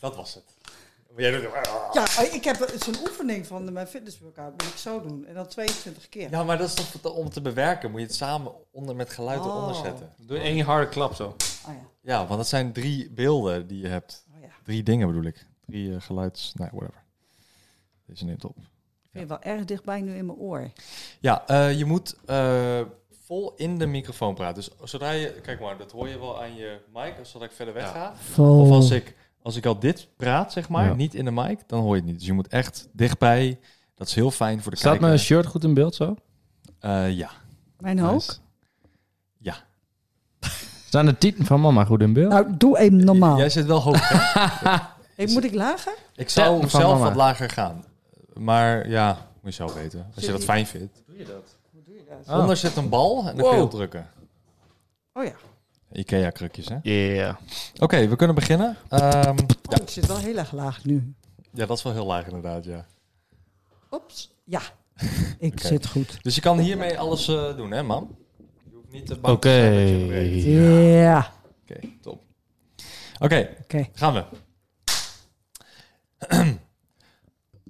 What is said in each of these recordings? Dat was het. Jij doet... ja. Ja, eh, ik heb het is een oefening van de- mijn fitness workout. Moet ik zo doen. En dan 22 keer. ja, maar dat is toch wat- om het te bewerken? Moet je het samen onder, met geluid Oh. eronder zetten. Doe één harde klap zo. Oh ja. Ja, want dat zijn drie beelden die je hebt. Oh ja. Drie dingen bedoel ik. Drie eh, geluids... Nee, whatever. Deze neemt op. Ik vind je wel erg dichtbij nu in mijn oor. Ja, eh, je moet eh, vol in de microfoon praten. Dus zodra je... Kijk maar, dat hoor je wel aan je mic. Als zodra ik verder weg ga. Of als ik, als ik al dit praat, zeg maar, Ja. niet in de mic, dan hoor je het niet. Dus je moet echt dichtbij. Dat is heel fijn voor de Staat kijker. mijn shirt goed in beeld zo? Eh, ja. Mijn hoofd. Nice. Ja. Staan de tieten van mama goed in beeld? Nou, doe even normaal. Ah. Jij zit wel hoog. hè? Hey, moet ik lager? ik zou Van zelf mama. wat lager gaan. Maar ja, moet je zelf weten. Als je dat fijn vindt. Hoe doe je dat? Oh. Onder zit een bal en dan kun je Wow. op drukken. Oh ja. Ikea-krukjes, hè? Yeah. Oké, we kunnen beginnen. Ehm, Oh, ik zit wel heel erg laag nu. ja, dat is wel heel laag inderdaad, ja. Ops. Ja. Ik Oké. zit goed. Dus je kan hiermee alles eh, doen, hè, man? Je hoeft niet te Oké. bang te zijn dat je het breekt. Ja. Oké, top. Oké, Oké. Gaan we.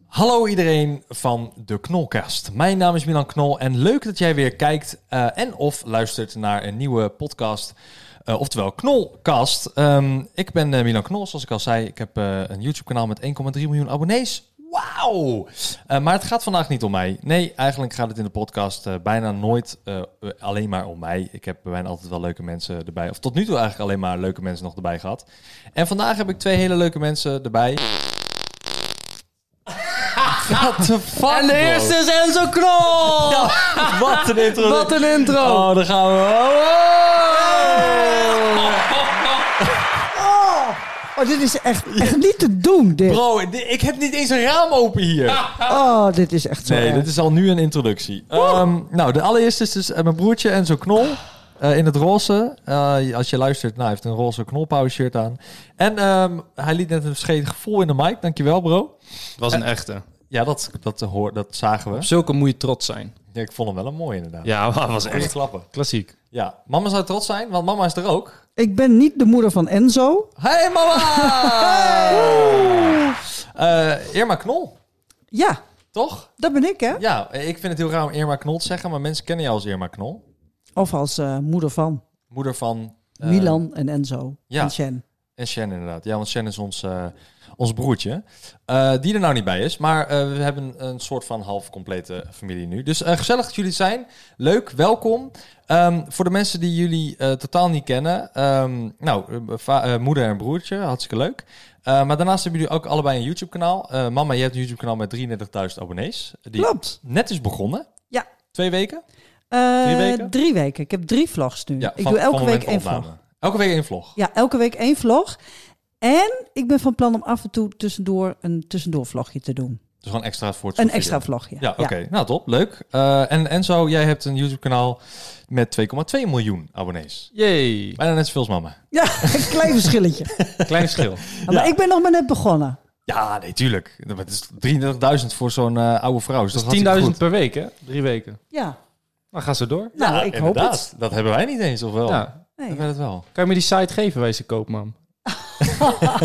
Hallo iedereen van de Knolkast. Mijn naam is Milan Knol en leuk dat jij weer kijkt eh, en of luistert naar een nieuwe podcast. eh, oftewel Knolkast. Ehm, ik ben eh, Milan Knol, zoals ik al zei. Ik heb eh, een YouTube kanaal met 1,3 miljoen abonnees. Wauw! Eh, maar het gaat vandaag niet om mij. Nee, eigenlijk gaat het in de podcast eh, bijna nooit eh, eh, alleen maar om mij. Ik heb bijna altijd wel leuke mensen erbij. Of tot nu toe eigenlijk alleen maar leuke mensen nog erbij gehad. En vandaag heb ik twee hele leuke mensen erbij. What the fuck, En de bro? eerste is Enzo Knol! Ja, wat een intro. Wat een intro! Oh, daar gaan we. Oh, dit is echt, echt niet te doen, dit. Bro, di- ik heb niet eens een raam open hier. Oh, dit is echt zo Nee, erg. dit is al nu een introductie. Ehm, nou, de allereerste is dus eh, mijn broertje Enzo Knol. eh, in het roze. Eh, als je luistert, nou, hij heeft een roze knolpower shirt aan. En ehm, hij liet net een verscheid gevoel in de mic. Dankjewel, bro. was een echte. Ja, dat, dat, eh, hoor, dat zagen we. Eh, Zulke moet je trots zijn. Ja, ik vond hem wel een mooi, inderdaad. Ja, dat was Goeie klappen. klassiek. Ja, mama zou trots zijn, want mama is er ook. Ik ben niet de moeder van Enzo. Hey mama! Eh, Irma Knol, Ja, toch? dat ben ik, hè? Ja, ik vind het heel raar om Irma Knol te zeggen, maar mensen kennen jou als Irma Knol. Of als eh, moeder van Moeder van... eh, Milan en Enzo ja. en Chen. En Shen inderdaad. Ja, want Shen is ons, eh, ons broertje. Eh, die er nou niet bij is. Maar eh, we hebben een soort van half complete familie nu. Dus eh, gezellig dat jullie zijn. Leuk, welkom. Ehm, voor de mensen die jullie eh, totaal niet kennen. ehm, nou, eh, va- eh, moeder en broertje. Hartstikke leuk. Eh, maar daarnaast hebben jullie ook allebei een YouTube kanaal. mama, je hebt een YouTube kanaal met 33.000 abonnees. Die Klopt. net is begonnen. Ja. Twee weken? Eh, Drie weken? drie weken. Ik heb drie vlogs nu. ik van- doe elke van moment week van één vlog. opname. Elke week één vlog. Ja, elke week één vlog. En ik ben van plan om af en toe tussendoor een tussendoor vlogje te doen. Dus gewoon extra voor het Een soort video. extra vlogje. Ja, oké. Nou, top. Leuk. Eh, en Enzo, jij hebt een YouTube-kanaal met 2,2 miljoen abonnees. Jee. Bijna net zoveel als mama. Ja, een klein verschilletje. Klein verschil. Maar ik ben nog maar net begonnen. Ja, nee, tuurlijk. Maar Het is 33.000 voor zo'n eh, oude vrouw. Dus dat is 10.000 per week, hè? Drie weken. Ja, Dan gaan ze door. nou, ik hoop het. Dat hebben wij niet eens, of wel? Ja. Ik Nee. weet het wel. Kan je me die site geven, wijze koopman?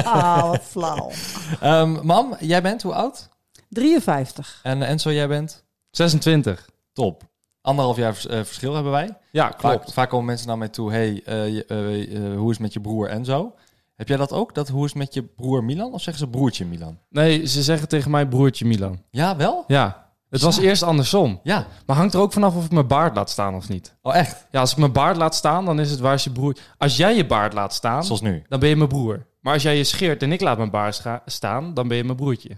Ah, wat flauw. Ehm, mam, jij bent hoe oud? 53. En eh, Enzo, jij bent? 26. Top. Anderhalf jaar vers- eh, verschil hebben wij. Ja, Vaak, klopt. vaak komen mensen naar mij toe. Hey, eh, je- eh, eh, hoe is het met je broer Enzo? Heb jij dat ook? Dat hoe is het met je broer Milan? Of zeggen ze broertje Milan? Nee, ze zeggen tegen mij broertje Milan. Ja, wel? Ja. Het was eerst andersom. Ja. Maar hangt er ook vanaf of ik mijn baard laat staan of niet. Oh, echt? Ja, als ik mijn baard laat staan, dan is het waar is je broer... Als jij je baard laat staan, Zoals nu. dan ben je mijn broer. Maar als jij je scheert en ik laat mijn baard scha- staan, dan ben je mijn broertje.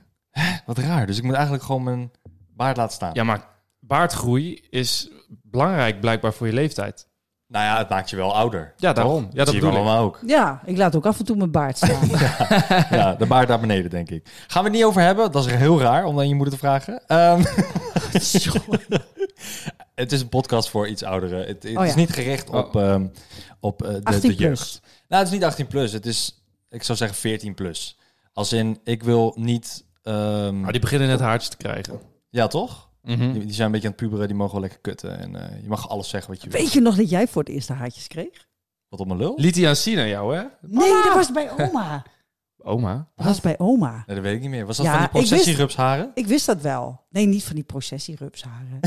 Wat raar. Dus ik moet eigenlijk gewoon mijn baard laten staan. Ja, maar baardgroei is belangrijk blijkbaar voor je leeftijd. Nou ja, het maakt je wel ouder. Ja, daarom. Ja, dat zie je bedoel ik. allemaal ook. Ja, ik laat ook af en toe mijn baard staan. Ja, de baard naar beneden, denk ik. Gaan we het niet over hebben. Dat is heel raar om aan je moeder te vragen. Ehm, het is een podcast voor iets ouderen. Het, het Oh ja. is niet gericht op, ehm, op eh, de, de 18 jeugd. plus. Nou, het is niet 18 plus. Het is, ik zou zeggen 14 plus. Als in, ik wil niet... ehm, Maar die beginnen net haartjes te krijgen. Ja, toch? Mhm. Die, die zijn een beetje aan het puberen. Die mogen wel lekker kutten. En eh, je mag alles zeggen wat je wil. Weet je nog dat jij voor het eerst de haartjes kreeg? Wat op mijn lul? Liet hij aan zien aan jou, hè? Nee, dat was bij oma. Oma. Dat was bij oma. Nee, dat weet ik niet meer. Was dat Ja, van die ik wist- processierupsharen? Ik wist dat wel. Nee, niet van die processierupsharen.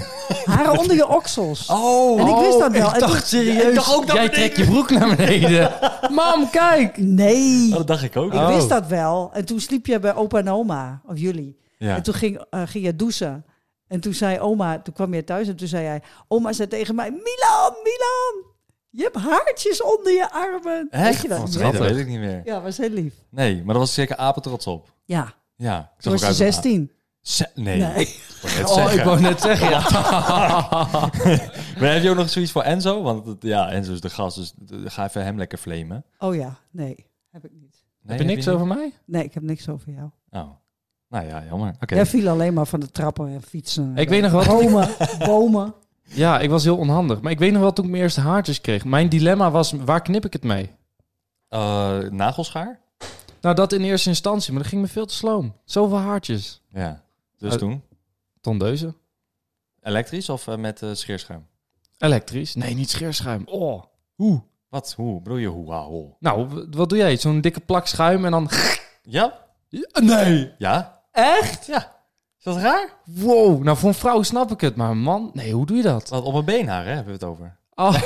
Haren onder je oksels. Oh! en ik wist dat wel. Ik En dacht toen- serieus, ik dacht ook dat jij we trekt je broek naar beneden. Mam, kijk! Nee, Oh, dat dacht ik ook. ik wist dat wel. En toen sliep je bij opa en oma, of jullie. Oh, Ja. En toen ging, eh, ging je douchen. En toen zei oma, toen kwam je thuis en toen zei hij... Oma zei tegen mij, Milan, Milan, je hebt haartjes onder je armen. Weet Echt? je dat? Wat Ja. nee, dat Schattig. weet ik niet meer. Ja, was heel lief. Nee, maar daar was ik zeker apetrots op. Ja, Ja. Ik toen zag was je ook uit- 16. Ze- nee. Nee. Ik wou net Oh, zeggen. ik wou net zeggen. Ja. Maar heb je ook nog zoiets voor Enzo? Want het- ja, Enzo is de gast, dus eh, ga even hem lekker flamen. Oh ja, nee, heb ik niet. Nee, Heb je niks niet? over mij? Nee, ik heb niks over jou. Oh. Nou ja, jammer. Oké. Jij viel alleen maar van de trappen en fietsen. Ik weet nog wat- Bomen, bomen. Ja, ik was heel onhandig. Maar ik weet nog wel toen ik mijn eerste haartjes kreeg. Mijn dilemma was, waar knip ik het mee? Eh, nagelschaar? Nou, dat in eerste instantie, maar dat ging me veel te sloom. Zoveel haartjes. Ja. Dus Eh, toen? Tondeuzen. Elektrisch of eh, met eh, scheerschuim? Elektrisch. Nee, niet scheerschuim. Oh, hoe? Wat? Hoe? Bedoel je hoe? Ah, hoe? Nou, w- wat doe jij? Zo'n dikke plak schuim en dan... Ja? Nee! Ja? Echt? Ja. Is dat raar? Wow, nou voor een vrouw snap ik het, maar een man... Nee, hoe doe je dat? Want op mijn beenhaar hè, hebben we het over. Oh.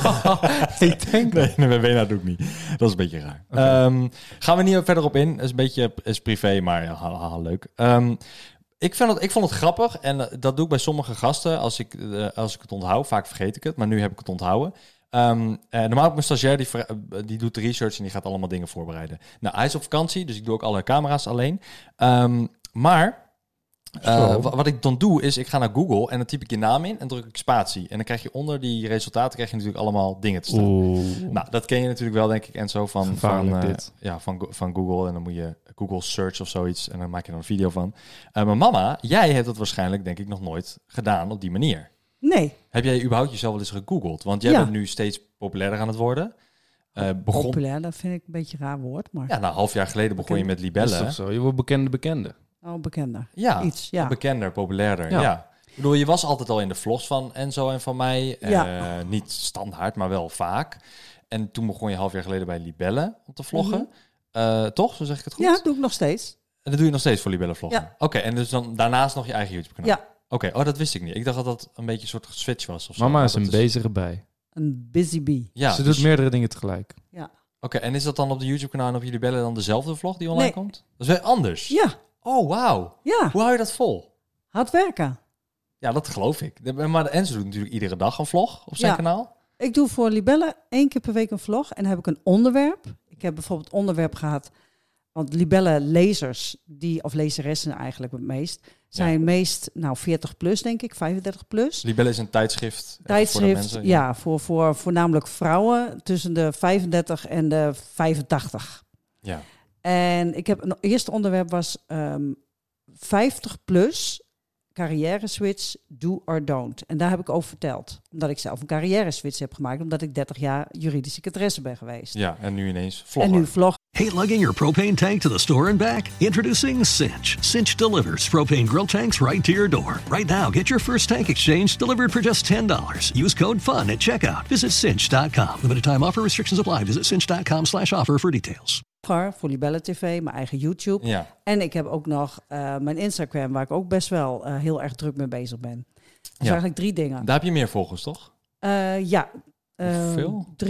ik denk Nee, nee, mijn benen doe ik niet. Dat is een beetje raar. Ehm, gaan we niet verder op in. Dat is een beetje is privé, maar ja, ha, ha, leuk. Ehm, ik, vind het, ik vond het grappig en eh, dat doe ik bij sommige gasten als ik, eh, als ik het onthoud. Vaak vergeet ik het, maar nu heb ik het onthouden. Ehm eh, normaal heb ik mijn stagiair, die, vra- eh, die doet de research en die gaat allemaal dingen voorbereiden. Nou, hij is op vakantie, dus ik doe ook alle camera's alleen. Ehm, maar eh, wa- wat ik dan doe, is ik ga naar Google en dan typ ik je naam in en druk ik spatie. En dan krijg je onder die resultaten krijg je natuurlijk allemaal dingen te staan. Oeh. Nou, dat ken je natuurlijk wel, denk ik, en zo van, van, Gevaarlijk eh, dit. ja, van, Go- van Google. En dan moet je Google search of zoiets en dan maak je dan een video van. Eh maar mama, jij hebt dat waarschijnlijk, denk ik, nog nooit gedaan op die manier. Nee, Heb jij überhaupt jezelf wel eens gegoogeld? Want jij Ja. bent nu steeds populairder aan het worden. Eh, begon, populair, dat vind ik een beetje een raar woord, maar Ja, nou, een half jaar geleden begon je met Dat is libellen. toch zo? Je wordt bekende bekende. nou bekender. Ja, Iets, ja. bekender, populairder, ja. Ja. Ik bedoel, je was altijd al in de vlogs van Enzo en van mij. Ja. Eh, niet standaard, maar wel vaak. En toen begon je half jaar geleden bij Libelle om te vloggen. Eh, toch? Zo zeg ik het goed? Mhm. Ja, dat doe ik nog steeds. En dat doe je nog steeds voor Libelle vloggen? Ja. Oké, en dus dan daarnaast nog je eigen YouTube-kanaal? Ja, Oké, oh, dat wist ik niet. Ik dacht dat dat een beetje een soort switch was of zo. Mama Maar is dat een bezige bij. een busy bee. Ja, Ze dus- doet meerdere dingen tegelijk. Oké, en is dat dan op de YouTube-kanaal en op jullie bellen dan dezelfde vlog die online Nee. komt? Dat is weer anders. Ja, Oh, wauw. ja, Hoe hou je dat vol? hard werken. Ja, dat geloof ik. De- Maar de Enzo doet natuurlijk iedere dag een vlog op zijn Ja. kanaal. Ik doe voor Libelle één keer per week een vlog en dan heb ik een onderwerp. Ik heb bijvoorbeeld onderwerp gehad, want Libelle lezers, die, of lezeressen eigenlijk het meest, zijn meest, nou 40 plus denk ik, 35 plus. Libelle Dus is een tijdschrift. even voor de tijdschrift. mensen. ja, voor, voor voornamelijk vrouwen tussen de 35 en de 85. Ja. En ik heb een eerste onderwerp was ehm, 50 plus carrière switch, do or don't. En daar heb ik over verteld. Omdat ik zelf een carrière switch heb gemaakt, omdat ik 30 jaar juridische secretaresse ben geweest. ja, en nu ineens en vlogger. nu vlog Hate lugging your propane tank to the store and back? Introducing Cinch. Cinch delivers propane grill tanks right to your door. Right now, get your first tank exchange delivered for just $10. Use code FUN at checkout. Visit cinch.com. Limited time offer restrictions apply. Visit cinch.com slash offer for details. vlogger voor Libelle TV, mijn eigen YouTube. Ja. En ik heb ook nog eh, mijn Instagram, waar ik ook best wel eh, heel erg druk mee bezig ben. Dus eigenlijk drie dingen. Daar heb je meer volgers, toch? Eh, ja. Eh, Hoeveel? 340.000.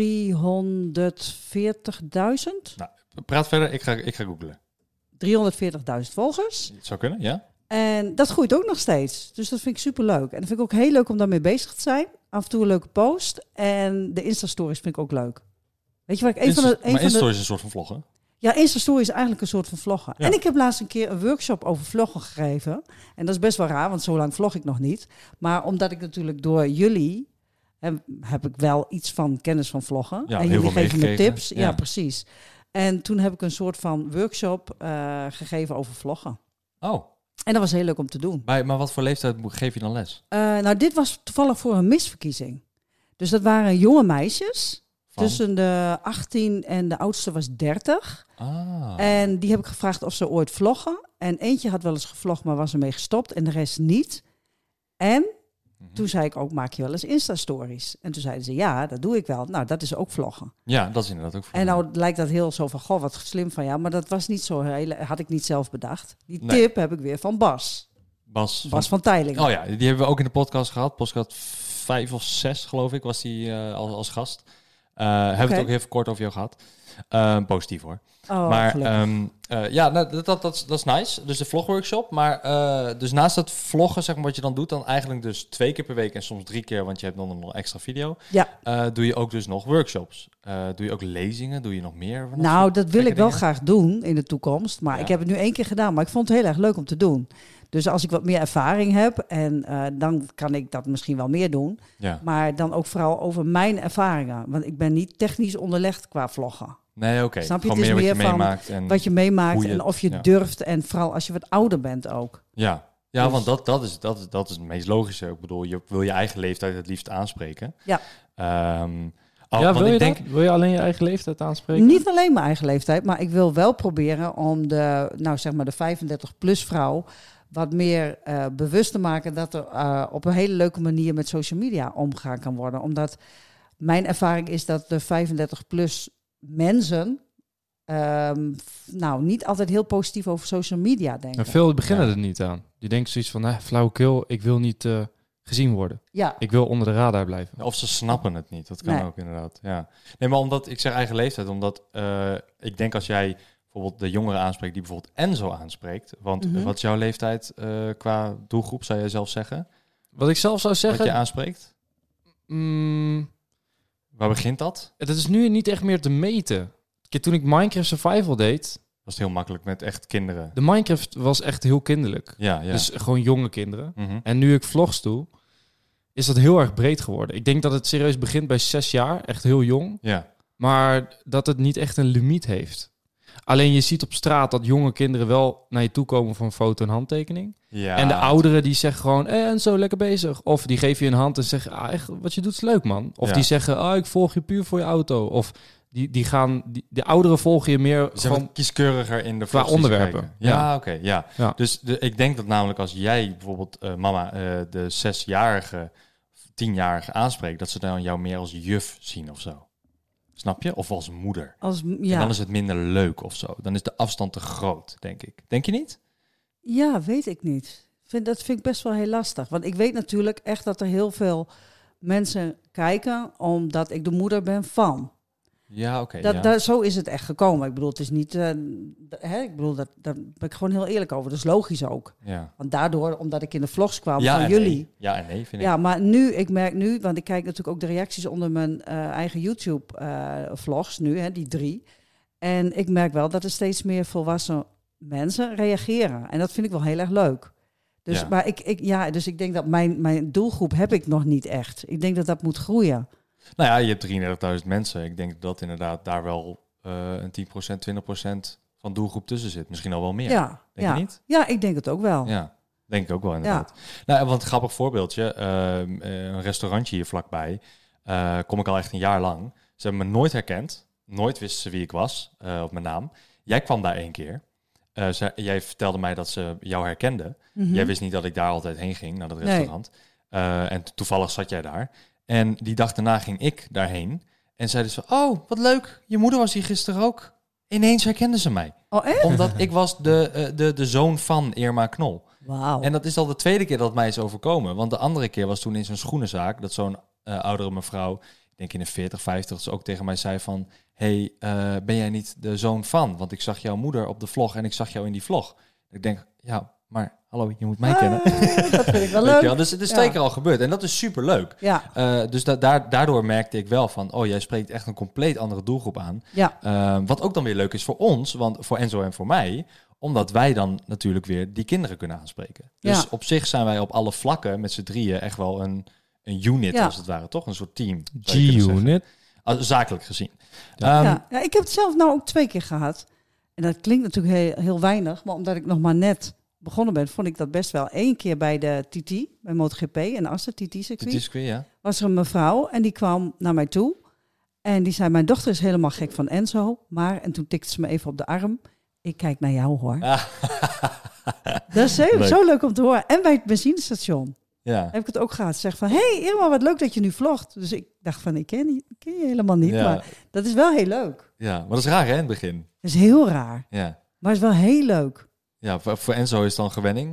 Nou, praat verder. Ik ga, ik ga googlen. 340.000 volgers. Het zou kunnen, ja? En dat groeit ook nog steeds. Dus dat vind ik superleuk. En dat vind ik ook heel leuk om daarmee bezig te zijn. Af en toe een leuke post. En de Insta-stories vind ik ook leuk. Weet je wat ik een van de... Een maar van Insta de is een soort van vloggen. ja, Insta-story is eigenlijk een soort van vloggen. Ja. En ik heb laatst een keer een workshop over vloggen gegeven. En dat is best wel raar, want zo lang vlog ik nog niet. Maar omdat ik natuurlijk door jullie... En heb ik wel iets van kennis van vloggen. Ja, en heel jullie veel geven me meegekregen. tips. Ja. Ja. precies. En toen heb ik een soort van workshop eh, gegeven over vloggen. Oh, En dat was heel leuk om te doen. bij, maar wat voor leeftijd moet- geef je dan les? Eh, nou, dit was toevallig voor een misverkiezing. Dus dat waren jonge meisjes. Van? Tussen de 18 en de oudste was 30. Ah. En die heb ik gevraagd of ze ooit vloggen. En eentje had wel eens gevlogd, maar was ermee gestopt. En de rest niet. En Mhm. toen zei ik ook, maak je wel eens Insta-stories? En toen zeiden ze, ja, dat doe ik wel. Nou, dat is ook vloggen. Ja, dat is inderdaad ook voor En nou lijkt dat heel zo van, goh, wat slim van jou. Maar dat was niet zo, heel, had ik niet zelf bedacht. Die Nee. tip heb ik weer van Bas. Bas. van- Bas van Tijlingen. Oh ja, die hebben we ook in de podcast gehad. Podcast 5 of 6, geloof ik, was die eh, als, als gast. Eh Hebben we Oké. het ook even kort over jou gehad. Eh, positief hoor. Oh, maar gelukkig. ehm, eh, ja, nou, dat, dat, dat, is- dat is nice. Dus de vlogworkshop. Maar eh, dus naast dat vloggen, zeg maar, wat je dan doet, dan eigenlijk dus twee keer per week en soms drie keer, want je hebt dan nog extra video. ja. eh, doe je ook dus nog workshops. Eh, doe je ook lezingen? Doe je nog meer? van Nou, soort dat wil gekke ik wel dingen? graag doen in de toekomst. Maar Ja. ik heb het nu één keer gedaan. Maar ik vond het heel erg leuk om te doen. Dus als ik wat meer ervaring heb, en eh, dan kan ik dat misschien wel meer doen. Ja. Maar dan ook vooral over mijn ervaringen. Want ik ben niet technisch onderlegd qua vloggen. Nee, oké. Snap je? Gewoon Het is meer wat je meer van meemaakt. En, Wat je meemaakt Hmm. Hoe je en het- of je ja. durft. En vooral als je wat ouder bent ook. Ja, ja Dus- want dat, dat, is, dat, is, dat is het meest logische. Ik bedoel, je wil je eigen leeftijd het liefst aanspreken. Ja. Ehm, al- ja, want wil je ik denk, dat? Wil je alleen je eigen leeftijd aanspreken? Niet alleen mijn eigen leeftijd, maar ik wil wel proberen om de, nou zeg maar de 35-plus vrouw wat meer eh, bewust te maken dat er eh, op een hele leuke manier met social media omgaan kan worden. Omdat mijn ervaring is dat de 35-plus mensen ehm, f- nou niet altijd heel positief over social media denken. En Nou, veel beginnen Ja. er niet aan. Die denken zoiets van, eh, flauwekul, ik wil niet eh, gezien worden. Ja, Ik wil onder de radar blijven. Of ze snappen het niet. Dat kan Nee. ook inderdaad. Ja. Nee, maar omdat ik zeg eigen leeftijd, omdat eh, ik denk als jij bijvoorbeeld de jongeren aanspreekt die bijvoorbeeld Enzo aanspreekt, want Mhm. wat is jouw leeftijd eh, qua doelgroep zou jij zelf zeggen? Wat ik zelf zou zeggen... Wat je aanspreekt? mm, Waar begint dat? dat is nu niet echt meer te meten. Kijk, toen ik Minecraft Survival deed, Dat is heel makkelijk met echt kinderen. de Minecraft was echt heel kinderlijk. Ja, ja. Dus gewoon jonge kinderen. Mhm. En nu ik vlogs doe, is dat heel erg breed geworden. Ik denk dat het serieus begint bij zes jaar, echt heel jong. ja. Maar dat het niet echt een limiet heeft. Alleen je ziet op straat dat jonge kinderen wel naar je toe komen voor een foto en handtekening. ja. En de ouderen die zeggen gewoon, eh, en zo lekker bezig. Of die geven je een hand en zeggen, ah, echt, wat je doet is leuk man. Of Ja. die zeggen, ah, ik volg je puur voor je auto. Of die, die gaan, die, de ouderen volgen je meer Ze gewoon... hebben kieskeuriger in de Qua vlogs die ze onderwerpen. kijken. Ja, Ja. oké. ja. Ja. Dus de, ik denk dat namelijk als jij bijvoorbeeld eh, mama, eh, de zesjarige, tienjarige aanspreekt, dat ze dan jou meer als juf zien of zo. Snap je? Of als moeder. als, En ja. dan is het minder leuk of zo. Dan is de afstand te groot, denk ik. Denk je niet? Ja, weet ik niet. Vind, dat vind ik best wel heel lastig. Want ik weet natuurlijk echt dat er heel veel mensen kijken omdat ik de moeder ben van. Ja, oké. Dat, ja. dat- zo is het echt gekomen. Ik bedoel, het is niet. eh, d- hè, ik bedoel, dat, daar ben ik gewoon heel eerlijk over. Dat is logisch ook. ja. Want daardoor, omdat ik in de vlogs kwam Ja van en jullie. nee. Ja en nee, vind ik. Ja, maar nu, ik merk nu, want ik kijk natuurlijk ook de reacties onder mijn eh, eigen YouTube-vlogs nu, hè, die drie. En ik merk wel dat er steeds meer volwassen mensen reageren. En dat vind ik wel heel erg leuk. Dus, Ja. maar ik, ik, ja, dus ik denk dat mijn, mijn doelgroep heb ik nog niet echt. Ik denk dat dat moet groeien. Nou ja, je hebt 33.000 mensen. Ik denk dat inderdaad daar wel eh, een 10%, 20% van doelgroep tussen zit. Misschien al wel meer. Ja, ja, Denk ja. je niet? ik denk het ook wel. Ja, Ja, denk ik ook wel inderdaad. Nou, want een grappig voorbeeldje. ehm, eh, een restaurantje hier vlakbij. eh, kom ik al echt een jaar lang. Ze hebben me nooit herkend. Nooit wisten ze wie ik was, eh, op mijn naam. Jij kwam daar één keer. Eh, ze- jij vertelde mij dat ze jou herkenden. Mhm. Jij wist niet dat ik daar altijd heen ging, naar dat Nee. restaurant. Eh, en to- toevallig zat jij daar. En die dag daarna ging ik daarheen. En zeiden ze, oh, wat leuk. Je moeder was hier gisteren ook. Ineens herkenden ze mij. Oh, echt? Omdat ik was de, eh, de, de zoon van Irma Knol. Wauw. En dat is al de tweede keer dat het mij is overkomen. Want de andere keer was toen in zo'n schoenenzaak dat zo'n eh, oudere mevrouw, ik denk in de 40, 50, ze ook tegen mij zei van, hey, eh, ben jij niet de zoon van? Want ik zag jouw moeder op de vlog en ik zag jou in die vlog. Ik denk, ja, maar hallo, je moet mij kennen. Ah, dat vind ik wel Weet je leuk. wel? Dus het is Ja. twee keer al gebeurd en dat is super leuk. Ja, dus da- daar, daardoor merkte ik wel van, oh, jij spreekt echt een compleet andere doelgroep aan. ja. Eh, wat ook dan weer leuk is voor ons, want voor Enzo en voor mij, omdat wij dan natuurlijk weer die kinderen kunnen aanspreken. Dus Ja. op zich zijn wij op alle vlakken met z'n drieën echt wel een, een unit Ja. als het ware, toch? Een soort team. zou je kunnen zeggen. G-Unit. Ah, Zakelijk gezien. Ja. Ehm, ja, ja, ik heb het zelf nou ook twee keer gehad. En dat klinkt natuurlijk heel, heel weinig, maar omdat ik nog maar net begonnen ben, vond ik dat best wel. Eén keer bij de TT, bij MotoGP, en Assen de TT-circuit, disc, ja. was er een mevrouw en die kwam naar mij toe. En die zei, mijn dochter is helemaal gek van Enzo, maar... En toen tikte ze me even op de arm. Ik kijk naar jou, hoor. Dat is heel, Ah. Leuk. zo leuk om te horen. En bij het benzinestation ja. heb ik het ook gehad. Zeg van, hey, Irma, wat leuk dat je nu vlogt. Dus ik dacht van, ik ken, je- ik ken je helemaal niet, Ja. maar dat is wel heel leuk. Ja, maar dat is raar hè, in het begin. Dat is heel raar, Ja, maar het is wel heel leuk. ja voor, voor Enzo is het dan gewenning,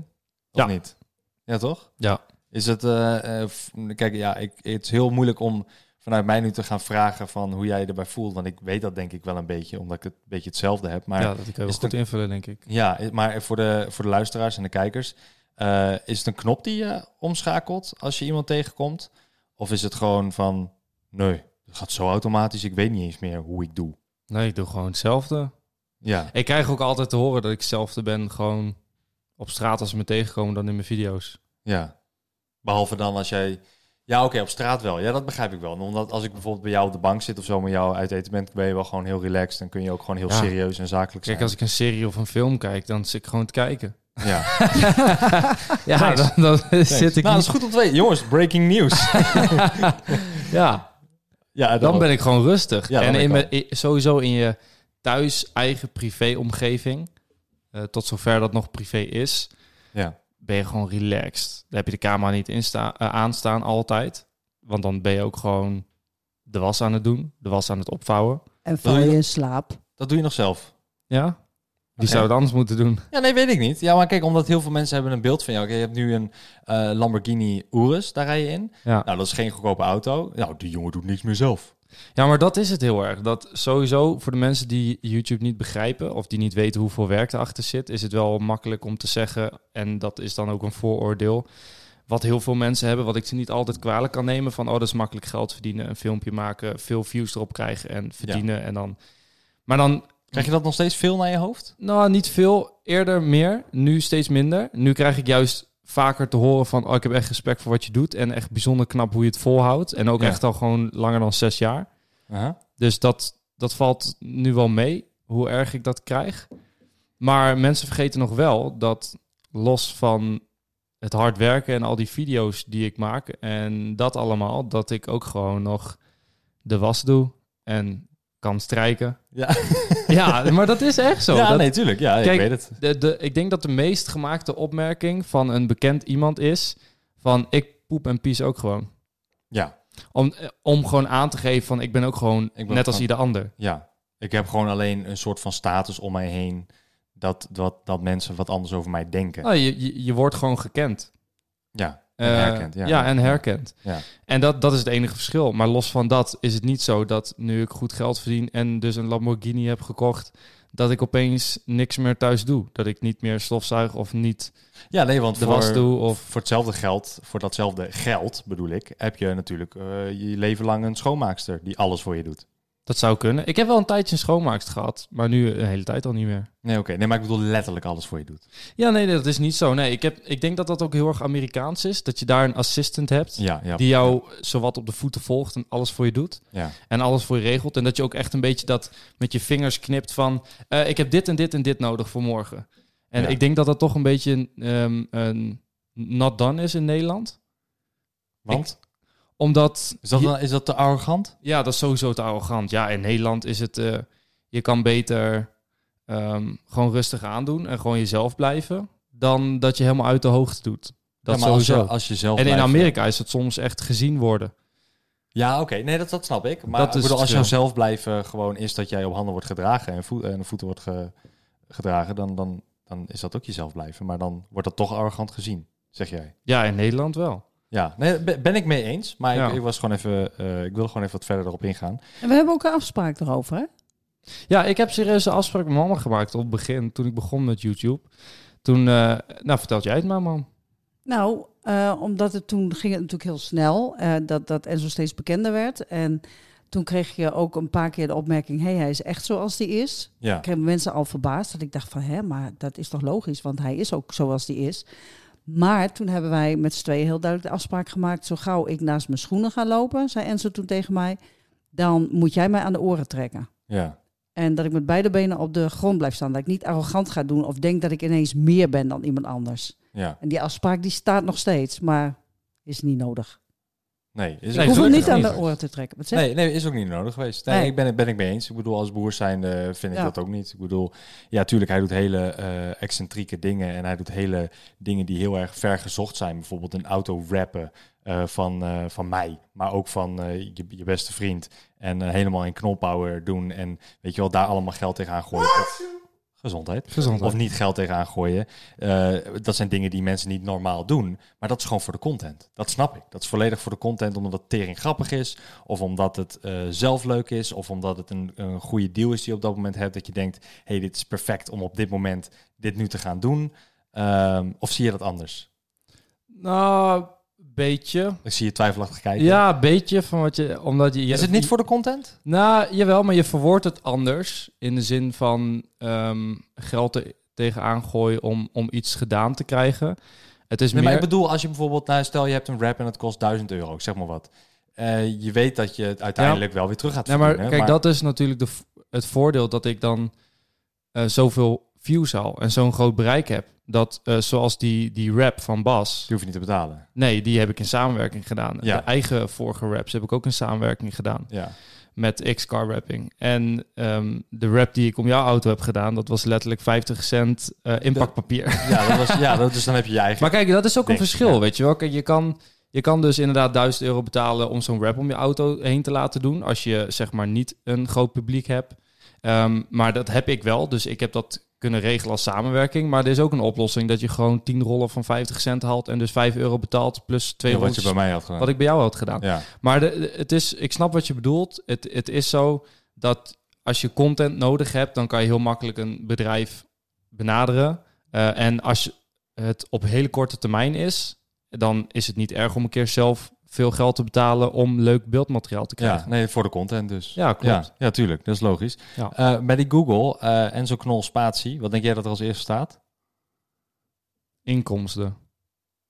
of Ja. niet? Ja, toch? Ja. Is het, eh, eh, f- kijk, ja, ik, het is heel moeilijk om vanuit mij nu te gaan vragen van hoe jij je erbij voelt. Want ik weet dat denk ik wel een beetje, omdat ik het een beetje hetzelfde heb. Maar ja, dat kan je is wel het goed invullen, denk ik. Ja, eh, maar voor de, voor de luisteraars en de kijkers, eh, is het een knop die je omschakelt als je iemand tegenkomt? Of is het gewoon van, nee, het gaat zo automatisch, ik weet niet eens meer hoe ik doe. Nee, ik doe gewoon hetzelfde. Ja, Ik krijg ook altijd te horen dat ik hetzelfde ben gewoon op straat als ze me tegenkomen dan in mijn video's. ja. Behalve dan als jij... Ja, oké, op straat wel. Ja, dat begrijp ik wel. Omdat als ik bijvoorbeeld bij jou op de bank zit of zo met jou uit eten ben, ben je wel gewoon heel relaxed en kun je ook gewoon heel Ja. serieus en zakelijk zijn. Kijk, als ik een serie of een film kijk, dan zit ik gewoon te kijken. Ja, Ja, dan, dan zit ik nou, dat is niet... goed om te weten. Jongens, breaking news. Ja, ja, dan ben ik gewoon rustig. Ja, dan en ben in ik mijn, i- sowieso in je thuis eigen privéomgeving, eh tot zover dat nog privé is, Ja, ben je gewoon relaxed. Dan heb je de camera niet insta- eh, aanstaan altijd. Want dan ben je ook gewoon de was aan het doen, de was aan het opvouwen. En val je je dat- in slaap. dat doe je nog zelf. Ja? Wie zou het anders moeten doen? Ja, nee, weet ik niet. Ja, maar kijk, omdat heel veel mensen hebben een beeld van jou. Oké, je hebt nu een eh, Lamborghini Urus, daar rij je in. Ja. Nou, dat is geen goedkope auto. Nou, die jongen doet niks meer zelf. ja, maar dat is het heel erg. Dat sowieso voor de mensen die YouTube niet begrijpen of die niet weten hoeveel werk erachter zit, is het wel makkelijk om te zeggen. En dat is dan ook een vooroordeel. Wat heel veel mensen hebben, wat ik ze niet altijd kwalijk kan nemen. Van oh, dat is makkelijk geld verdienen, een filmpje maken, veel views erop krijgen en verdienen. En dan. Maar dan Krijg je dat nog steeds veel naar je hoofd? Nou, niet veel. Eerder meer. Nu steeds minder. Nu krijg ik juist vaker te horen van... Oh, ik heb echt respect voor wat je doet. En echt bijzonder knap hoe je het volhoudt. En ook Ja. echt al gewoon langer dan zes jaar. Dus dat, dat valt nu wel mee, hoe erg ik dat krijg. Maar mensen vergeten nog wel dat los van het hard werken en al die video's die ik maak... en dat allemaal, dat ik ook gewoon nog de was doe en kan strijken. Ja, Ja, maar dat is echt zo. ja Dat- nee, tuurlijk. Ja, Kijk, ik weet het. de, de, ik denk dat de meest gemaakte opmerking van een bekend iemand is van ik poep en pies ook gewoon. Ja, Om, eh, om gewoon aan te geven van ik ben ook gewoon ben net ook als gewoon- ieder ander. ja. Ik heb gewoon alleen een soort van status om mij heen. Dat, dat, dat mensen wat anders over mij denken. Nou, je, je, je wordt gewoon gekend. Ja, Eh, en herkend. Ja, en herkend. Ja. En dat, dat is het enige verschil. Maar los van dat is het niet zo dat nu ik goed geld verdien en dus een Lamborghini heb gekocht, dat ik opeens niks meer thuis doe. Dat ik niet meer stofzuig of niet Ja, nee, want de voor, was doe. Of, voor hetzelfde geld, voor datzelfde geld bedoel ik, heb je natuurlijk eh, je leven lang een schoonmaakster die alles voor je doet. dat zou kunnen. Ik heb wel een tijdje een schoonmaakster gehad, maar nu een hele tijd al niet meer. Nee, oké. Nee, maar ik bedoel letterlijk alles voor je doet. Ja, nee, nee, dat is niet zo. Nee, ik, heb, ik denk dat dat ook heel erg Amerikaans is. Dat je daar een assistant hebt Ja, ja. die jou zowat op de voeten volgt en alles voor je doet. Ja, En alles voor je regelt. En dat je ook echt een beetje dat met je vingers knipt van... eh, ik heb dit en dit en dit nodig voor morgen. En Ja. ik denk dat dat toch een beetje ehm, een not done is in Nederland. want? Omdat... Is dat, je- dan- is dat te arrogant? Ja, dat is sowieso te arrogant. Ja, in Nederland is het... eh, je kan beter ehm, gewoon rustig aandoen en gewoon jezelf blijven... dan dat je helemaal uit de hoogte doet. Dat Ja, maar sowieso. Als je, als je zelf En in blijft- Amerika is het soms echt gezien worden. Ja, oké. Nee, dat, dat snap ik. Maar Dat ik is bedoel, als het jouw verschil. zelf blijven gewoon is dat jij op handen wordt gedragen en, voet, en voeten wordt ge- gedragen, dan, dan, dan is dat ook jezelf blijven. Maar dan wordt dat toch arrogant gezien, zeg jij. Ja, in Nederland wel. Ja, nee, ben ben ik mee eens. Maar Ja. ik, ik was gewoon even, eh, ik wil gewoon even wat verder erop ingaan. En we hebben ook een afspraak erover, hè? Ja, ik heb serieus een afspraak met mama gemaakt op het begin, toen ik begon met YouTube. Toen, eh, nou vertelt jij het maar, man. Nou, eh, omdat het toen ging het natuurlijk heel snel, eh, dat, dat Enzo steeds bekender werd. En toen kreeg je ook een paar keer de opmerking, hé, hey, hij is echt zoals die is. Ja, Ik kreeg mensen al verbaasd dat ik dacht van, hè, maar dat is toch logisch, want hij is ook zoals die is. Maar toen hebben wij met z'n tweeën heel duidelijk de afspraak gemaakt. Zo gauw ik naast mijn schoenen ga lopen, zei Enzo toen tegen mij, dan moet jij mij aan de oren trekken. Ja. En dat ik met beide benen op de grond blijf staan. Dat ik niet arrogant ga doen of denk dat ik ineens meer ben dan iemand anders. Ja. En die afspraak die staat nog steeds, maar is niet nodig. Nee, is Nee, ik hoef hem gelukkig niet aan niet. de oren te trekken. Wat zeg je? Nee, nee, is ook niet nodig geweest. Nee, Nee. Ik ben, het- ben ik mee eens. Ik bedoel, als boer zijnde vind ik Ja. dat ook niet. Ik bedoel, ja, tuurlijk, hij doet hele eh, excentrieke dingen. En hij doet hele dingen die heel erg ver gezocht zijn. Bijvoorbeeld een auto rappen eh, van, eh, van mij, maar ook van eh, je, je beste vriend. En eh, helemaal in knolpower doen. En weet je wel, daar allemaal geld tegenaan gooien. Gezondheid. Gezondheid. Of niet geld tegenaan gooien. Eh, dat zijn dingen die mensen niet normaal doen. Maar dat is gewoon voor de content. Dat snap ik. Dat is volledig voor de content omdat het tering grappig is. Of omdat het eh, zelf leuk is. Of omdat het een, een goede deal is die je op dat moment hebt. Dat je denkt, hé, hey, dit is perfect om op dit moment dit nu te gaan doen. Ehm, of zie je dat anders? Nou, beetje. Ik zie je twijfelachtig kijken. Ja, beetje van wat je, omdat je. Is het niet voor de content? Nou, jawel, maar je verwoordt het anders in de zin van ehm, geld te, tegenaan gooien om om iets gedaan te krijgen. Het is Nee, maar meer. ik bedoel, als je bijvoorbeeld, nou, stel je hebt een rap en het kost 1000 euro, ik zeg maar wat. Eh, je weet dat je het uiteindelijk wel weer terug gaat Ja, maar verdienen. kijk, dat is natuurlijk de, v- het voordeel dat ik dan eh, zoveel views haal en zo'n groot bereik heb. Dat eh, zoals die, die rap van Bas. Je hoeft niet te betalen. Nee, die heb ik in samenwerking gedaan. Ja. De eigen vorige raps heb ik ook in samenwerking gedaan Ja. met X-Car Rapping. En ehm, de rap die ik om jouw auto heb gedaan, dat was letterlijk 50 cent eh, inpakpapier. Ja, dat was, ja dat, dus dan heb je je eigen. Maar kijk, dat is ook een Denk ik, verschil, ja. weet je wel. Kijk, je kan, je kan dus inderdaad 1000 euro betalen om zo'n rap om je auto heen te laten doen. Als je zeg maar niet een groot publiek hebt. Ehm, maar dat heb ik wel, dus ik heb dat kunnen regelen als samenwerking. Maar er is ook een oplossing dat je gewoon 10 rollen van 50 cent haalt en dus 5 euro betaalt plus 2 Ja, euro. wat je bij mij had gedaan. Wat ik bij jou had gedaan. ja. Maar de- de- het is, ik snap wat je bedoelt. Het, het is zo dat als je content nodig hebt, dan kan je heel makkelijk een bedrijf benaderen. Eh, en als je- het op hele korte termijn is, dan is het niet erg om een keer zelf veel geld te betalen om leuk beeldmateriaal te ja, krijgen. nee, voor de content dus. Ja, klopt. Ja, ja, tuurlijk. Dat is logisch. Ja. Eh, bij die Google, eh Enzo Knol Spatie, wat denk jij dat er als eerste staat? Inkomsten,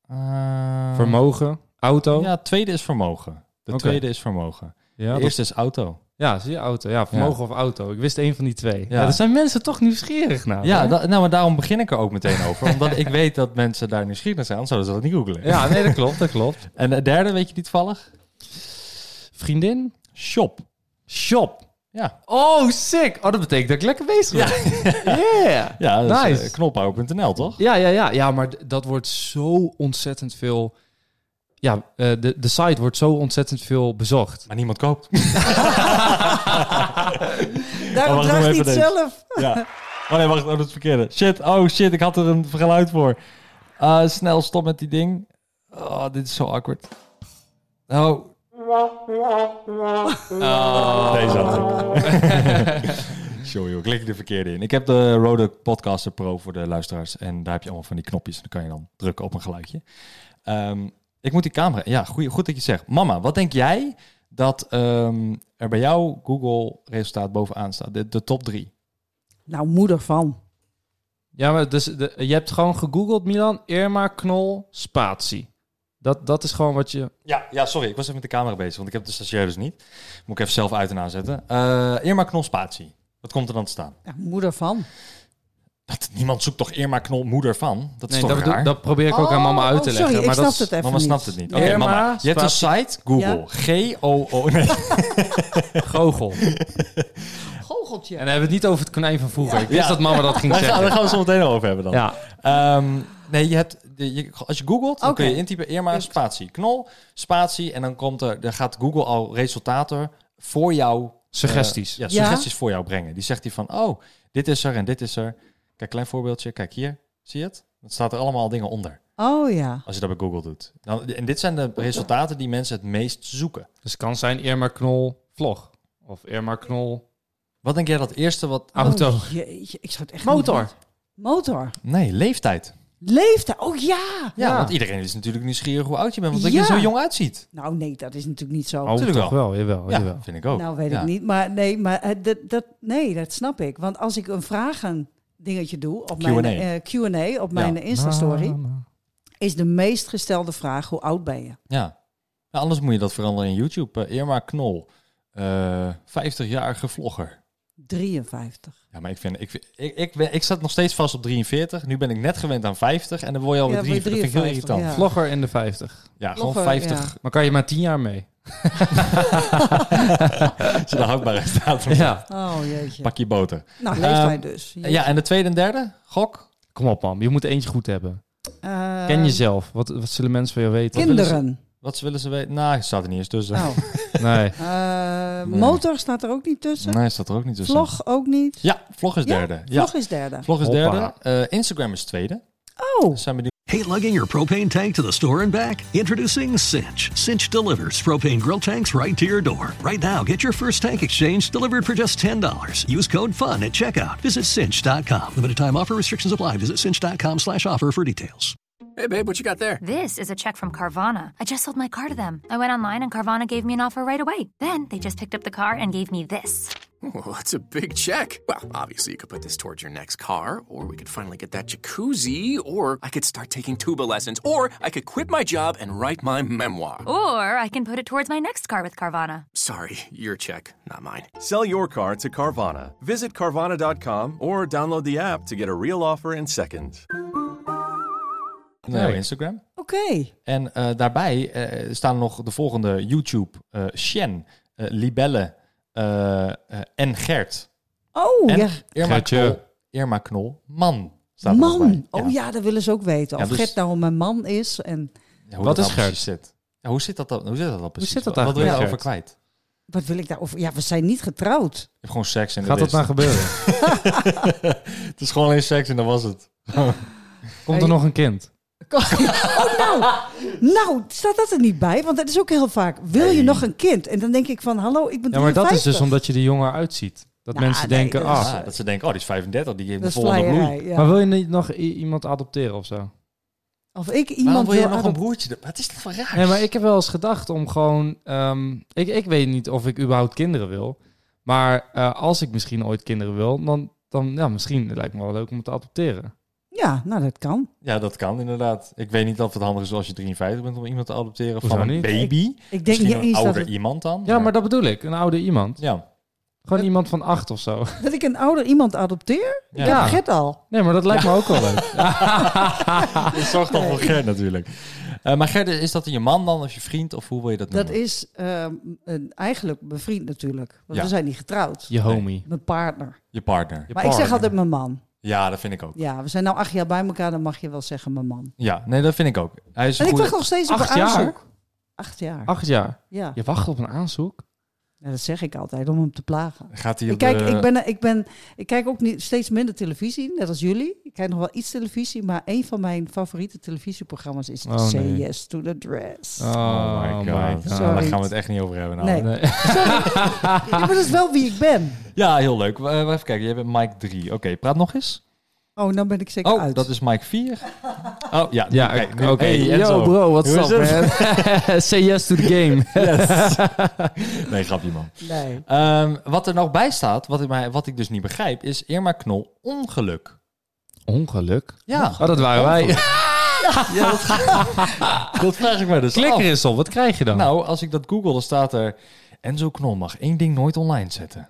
Eh, vermogen, auto. Ja, Ja, tweede is vermogen. De Oké. tweede is vermogen. ja, de dat- eerste is auto. ja zie je auto. Ja, vermogen of auto. Ik wist één van die twee. Ja. Ja. dat zijn mensen toch nieuwsgierig naar. Ja, hè? da- nou, maar daarom begin ik er ook meteen over. omdat ik weet dat mensen daar nieuwsgierig naar zijn, anders zouden ze dat niet googlen. ja, nee, dat klopt, dat klopt. En de derde, weet je die toevallig? Vriendin, Shop. shop. Ja. Oh, sick. Oh, dat betekent dat ik lekker bezig ben. Ja. Yeah. Ja, dat is, Nice. eh, knolpower.nl, toch? Ja, ja, ja. Ja, maar d- dat wordt zo ontzettend veel... Ja, eh, de, de site wordt zo ontzettend veel bezocht. Maar niemand koopt. Daarom Oh, wacht, doe draag even je het deze. zelf. Ja. Oh nee, wacht. Oh, dat is het verkeerde. Shit. Oh shit, ik had er een geluid voor. Eh, snel stop met die ding. Oh, dit is zo awkward. Nou, Oh. Deze had ik. Sorry hoor, klik ik de verkeerde in. Ik heb de Rode Podcaster Pro voor de luisteraars. En daar heb je allemaal van die knopjes. En dan kan je dan drukken op een geluidje. Ehm, ik moet die camera... Ja, goeie, goed dat je het zegt. Mama, wat denk jij dat ehm, er bij jou Google resultaat bovenaan staat? De, de top drie. Nou, moeder van. Ja, maar dus de- je hebt gewoon gegoogeld, Milan. Irma, Knol, Spatie. Dat, dat is gewoon wat je... Ja, ja, sorry. Ik was even met de camera bezig, want ik heb de stagiair dus niet. Moet ik even zelf uit en aanzetten. Eh Irma Knol Spatie. Wat komt er dan te staan? Ja, moeder van. Dat, niemand zoekt toch Irma Knol moeder van? Dat is Nee, toch dat, raar? bedoel- dat probeer ik ook aan mama Oh, uit te oh, leggen. Sorry, ik maar dat snap is- het even mama niet. snapt het niet. Oké, Nee. Irma mama. Je hebt een site, Google. Ja. G-O-O... Nee. Gogel. En Goocheltje. dan hebben we het niet over het konijn van vroeger. Ik wist Ja. dat mama dat ging Daar gaan, daar zeggen. gaan we zo meteen over hebben dan. Ja. Ehm, nee, je hebt, de- je- als je googelt, dan Oké. kun je intypen Irma Spatie Knol Spatie. En dan, komt er, dan gaat Google al resultaten voor jou Suggesties. eh, ja, Ja. suggesties voor jou brengen. Die zegt hij van, oh, dit is er en dit is er. Kijk, klein voorbeeldje. Kijk hier. Zie je het? Het staat er allemaal dingen onder. Oh ja. Als je dat bij Google doet. Dan, en dit zijn de resultaten die mensen het meest zoeken. Dus het kan zijn Irma, Knol, vlog. Of Irma, Knol, Wat denk jij dat eerste wat... Ah, auto. Oh, jeetje, ik zou het echt Motor. niet weten. Motor. Nee, leeftijd. Leeftijd. Oh ja. Ja, Ja. want iedereen is natuurlijk nieuwsgierig hoe oud je bent. Want dat Ja. je er zo jong uitziet. Nou nee, dat is natuurlijk niet zo. Oh, Tuurlijk toch wel. Jawel, Ja, jawel. vind ik ook. Nou, weet Ja. ik niet. Maar nee, maar eh, dat, dat, nee, dat snap ik. Want als ik een vragen dingetje doe op mijn Q&A. eh, Q&A op mijn Insta story, is de meest gestelde vraag: hoe oud ben je? Ja. Nou, anders moet je dat veranderen in YouTube. Eh, Irma Knol, eh 50-jarige vlogger. 53. Ja, maar ik vind, ik, vind- ik, ik, ben, ik zat nog steeds vast op 43. Nu ben ik net gewend aan 50 en dan word je alweer Ja, word je 43. Dat vind ik heel 53, irritant. Ja, ja. Vlogger in de 50. gewoon Vlogger, 50. Maar kan je maar 10 jaar mee? Als je de houdbaarheid staat. Ja. Oh jeetje. Pak je boter. Nou, leeftijd Ehm, dus. Ja. en de tweede en derde? Gok? Kom op, man. Je moet eentje goed hebben. Eh, Ken jezelf. Wat, wat zullen mensen van jou weten? Kinderen. Wat willen ze weten? Nou, staat er niet eens tussen. Oh. Nee. Eh, motor staat er ook niet tussen. Nee, staat er ook niet tussen. Vlog ook niet. Ja, vlog is Ja, derde. Ja, Vlog vlog, is derde. is Hoppa. derde. Eh, Instagram is tweede. Oh, Zijn we nu Hate lugging your propane tank to the store and back? Introducing Cinch. Cinch delivers propane grill tanks right to your door. Right now, get your first tank exchange delivered for just $10. Use code FUN at checkout. Visit cinch.com. Limited time offer restrictions apply. Visit cinch.com slash offer for details. Hey, babe, what you got there? This is a check from Carvana. I just sold my car to them. I went online and Carvana gave me an offer right away. Then they just picked up the car and gave me this. Well, that's a big check. Well, obviously, you could put this towards your next car, or we could finally get that jacuzzi, or I could start taking tuba lessons, or I could quit my job and write my memoir. Oh. Or I can put it towards my next car with Carvana. Sorry, your check, not mine. Sell your car to Carvana. Visit Carvana.com or download the app to get a real offer in seconds. naar Nee. Instagram. oké. En eh, daarbij eh, staan nog de volgende YouTube, eh Shen, eh, Libelle eh, eh, en Gert. Oh, En ja. Irma, Gertje. Knol, Irma Knol, man. Staat er nog bij. Man. Oh ja, dat willen ze ook weten. Ja, Of dus- Gert nou mijn man is. En Ja, hoe Wat dat is nou Gert? precies Zit. Ja, hoe zit dat dan? Hoe zit dat dan precies? zit dat Wat- Wat wil je eigenlijk daarover met kwijt? Je wat wil ik daarover? Ja, we zijn niet getrouwd. hebt gewoon seks en Gaat dat is- nou gebeuren? Het is gewoon alleen seks en dan was het. Komt er nog een kind? Oh, nou. Nou, staat dat er niet bij? Want dat is ook heel vaak. Wil je nog een kind? En dan denk ik van, hallo, ik ben Ja, maar dat is dus 53. omdat je er jonger uitziet. Dat Nou, mensen nee, denken, dat ah, is- Ah, dat ze denken, oh, die is 35, die heeft Dat de is volgende bloei. vleierij, ja. maar wil je niet nog i- iemand adopteren of zo? Of ik Waarom iemand wil je nog een adop- broertje? Wat is dat voor raar? Nee, maar ik heb wel eens gedacht om gewoon... ehm, ik, ik weet niet of ik überhaupt kinderen wil. Maar eh, als ik misschien ooit kinderen wil, dan, dan ja, misschien lijkt me wel leuk om te adopteren. Ja, nou dat kan. Ja, dat kan inderdaad. Ik weet niet of het handig is als je 53 bent om iemand te adopteren Hoezo van een niet? baby. Ik denk Misschien niet een eens dat, ouder het- iemand dan. Ja, maar dat bedoel ik. Een oude iemand. Ja. Gewoon iemand van acht of zo. dat ik een ouder iemand adopteer. Ja. Ik heb Gert al. Nee, maar dat lijkt me ook wel leuk. Dat zorgt dan voor Ger natuurlijk. Eh, maar Ger, is dat je man dan of je vriend of hoe wil je dat Dat noemen? is ehm, een, eigenlijk mijn vriend natuurlijk. Want Ja. we zijn niet getrouwd. Je homie. Mijn partner. Je partner. maar ik zeg altijd mijn man. Ja, dat vind ik ook. Ja, we zijn nou acht jaar bij elkaar, dan mag je wel zeggen mijn man. Ja, nee, dat vind ik ook. Hij is een En ik goede- wacht nog steeds op Acht een jaar? aanzoek. Acht jaar. Acht jaar. Ja. Je wacht op een aanzoek? Ja, dat zeg ik altijd om hem te plagen. Gaat hij Ik op kijk, de- ik, ben, ik, ben, ik kijk ook niet, steeds minder televisie, net als jullie. Ik kijk nog wel iets televisie, maar een van mijn favoriete televisieprogramma's is Oh, Say nee. Yes to the Dress. Oh my god. Sorry. Daar gaan we het echt niet over hebben. Nou. nee, Nee. Ja, maar dat is wel wie ik ben. Ja, heel leuk. We- we even kijken. Jij bent Mike 3. Oké, praat nog eens. Oh, dan ben ik zeker Oh, uit. dat is Mike 4. Oh, ja. Ja, kijk, oké. nu- hey, Enzo. Yo bro, what's Hoe is up het? man? Say yes to the game. Nee, grapje man. Nee. Ehm, wat er nog bij staat, wat ik, mij, wat ik dus niet begrijp, is Irma Knol ongeluk. Ongeluk? Ja. Oh, dat waren wij. Ja, dat, dat vraag ik me dus Klik af. er eens op, wat krijg Oh. je dan? Nou, als ik dat google, dan staat er... Enzo Knol mag één ding nooit online zetten.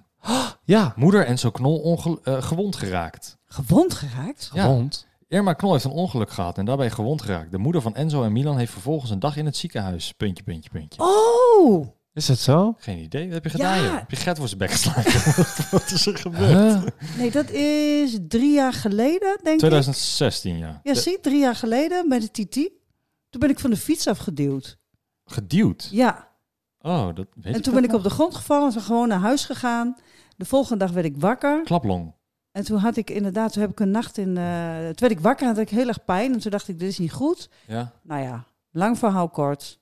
ja. Moeder Enzo Knol ongel- eh, gewond geraakt. Gewond geraakt? Ja. Gewond. Irma Knol heeft een ongeluk gehad en daarbij gewond geraakt. De moeder van Enzo en Milan heeft vervolgens een dag in het ziekenhuis. Puntje, puntje, puntje. Oh, Is dat zo? Geen idee. Wat heb je Ja. gedaan? joh? Heb je Gert voor zijn bek geslagen? Wat is er gebeurd? Huh? nee, dat is drie jaar geleden, denk ik. 2016, ja. Ja, zie, drie jaar geleden bij de Titi. Toen ben ik van de fiets afgeduwd. Geduwd. Ja, Oh, dat weet en ik toen dat ben ik nog. op de grond gevallen en ben gewoon naar huis gegaan. De volgende dag werd ik wakker. Klaplong. En toen had ik inderdaad, toen heb ik een nacht in... eh, toen werd ik wakker en had ik heel erg pijn. En toen dacht ik, dit is niet goed. Ja. Nou ja, lang verhaal kort.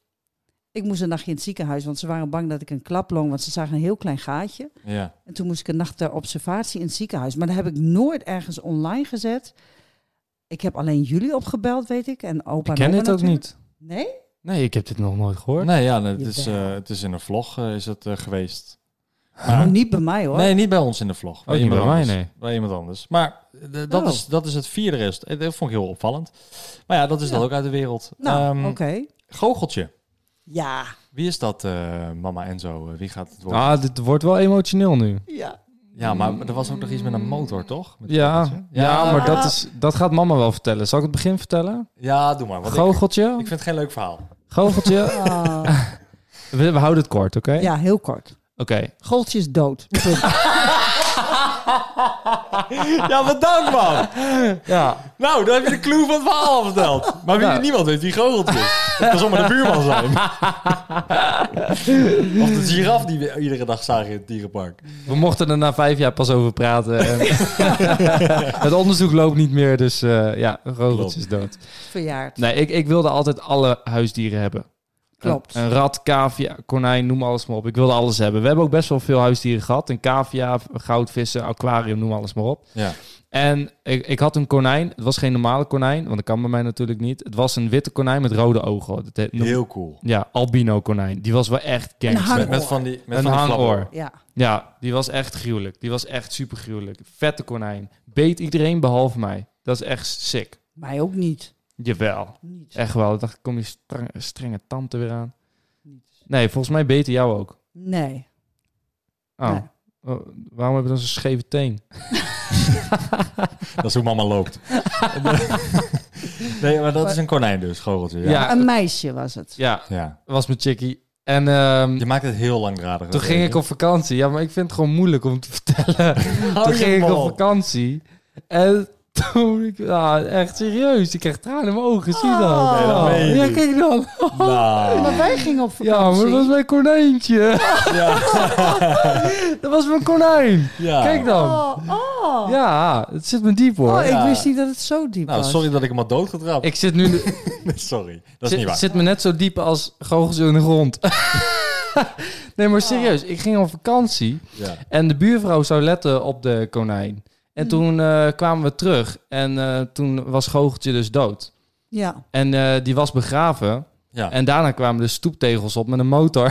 Ik moest een nachtje in het ziekenhuis, want ze waren bang dat ik een klaplong... want ze zagen een heel klein gaatje. Ja. En toen moest ik een nacht ter observatie in het ziekenhuis. Maar dat heb ik nooit ergens online gezet. Ik heb alleen jullie opgebeld, weet ik. En opa Ik en ken oma dit ook natuurlijk. niet. Nee? Nee, ik heb dit nog nooit gehoord. Nee, ja, het is, Jawel. eh, het is in een vlog eh, is het, eh, geweest. Oh, niet bij mij hoor. Nee, niet bij ons in de vlog. niet bij mij, anders. nee. Bij iemand anders. Maar eh, d- dat, Oh. is, dat is het vierde rest. Eh, Dat vond ik heel opvallend. Maar ja, dat is dat ook uit de wereld. Nou, Ehm, oké. Goocheltje. Ja. Wie is dat, eh, mama Enzo? Eh, Wie gaat het worden? Ah, dit wordt wel emotioneel nu. Ja. Ja, maar er was ook nog iets met een motor, toch? Met Ja, goocheltje. ja, maar dat, Ah. is, dat gaat mama wel vertellen. Zal ik het begin vertellen? Ja, doe maar. Want ik, ik Goocheltje? vind het geen leuk verhaal. Goocheltje? Ah, We, we houden het kort, oké? ja, heel kort. Oké. Goocheltje is dood. ja, wat dank, man. Ja. Nou, dan heb je de clue van het verhaal al verteld. Maar wie, Nou. niemand weet wie goocheltje is. Dat kan zomaar de buurman zijn. of de giraf die we iedere dag zagen in het dierenpark. We mochten er na vijf jaar pas over praten. En het onderzoek loopt niet meer, dus eh, ja, goocheltje is dood. Verjaard. Nee, ik, ik wilde altijd alle huisdieren hebben. Klopt. Een, een rat, cavia, konijn, noem alles maar op. Ik wilde alles hebben. We hebben ook best wel veel huisdieren gehad. Een cavia, goudvissen, aquarium, noem alles maar op. Ja. En ik, ik had een konijn. Het was geen normale konijn, want dat kan bij mij natuurlijk niet. Het was een witte konijn met rode ogen. Dat heet- noem- Heel cool. Ja, albino konijn. Die was wel echt gangster. hang- Met, met van die met Een van die hangoor. flappen. Ja. Ja, die was echt gruwelijk. Die was echt super gruwelijk. Vette konijn. Beet iedereen behalve mij. Dat is echt sick. Mij ook niet. Jawel. Niet. Echt wel. Ik dacht, kom je strang- strenge tante weer aan. Nee, volgens mij beter jou ook. Nee. Oh. Nee. Oh, waarom heb je dan zo'n scheve teen? Dat is hoe mama loopt. nee, maar dat is een konijn dus, goocheltje. Ja. Ja. Een meisje was het. Ja, Ja. was mijn chickie. En ehm, Je maakt het heel langdradig. toen ging ik op vakantie. Ja, maar ik vind het gewoon moeilijk om te vertellen. toen je ging ik mond. op vakantie. En toen... Ik, ah, echt serieus. Ik kreeg tranen in mijn ogen. Zie je dat? Nee, dat meen je ja, niet. kijk dan. Maar Nou, wij gingen op vakantie. Ja, maar dat was mijn konijntje. ja. Nou. Dat was mijn konijn. Ja. Kijk dan. Oh, oh. Ja, het zit me diep hoor. Oh, Ja. ik wist niet dat het zo diep Nou, was. sorry dat ik hem had doodgetrapt. Ik zit nu... Sorry, dat is niet Het waar. zit me net zo diep als goochels in de grond. nee, Ah. maar serieus. Ik ging op vakantie Ja. en de buurvrouw zou letten op de konijn. Mm. En toen eh, kwamen we terug en eh, toen was goocheltje dus dood. Ja. En eh, die was begraven. Ja. En daarna kwamen de stoeptegels op met een motor.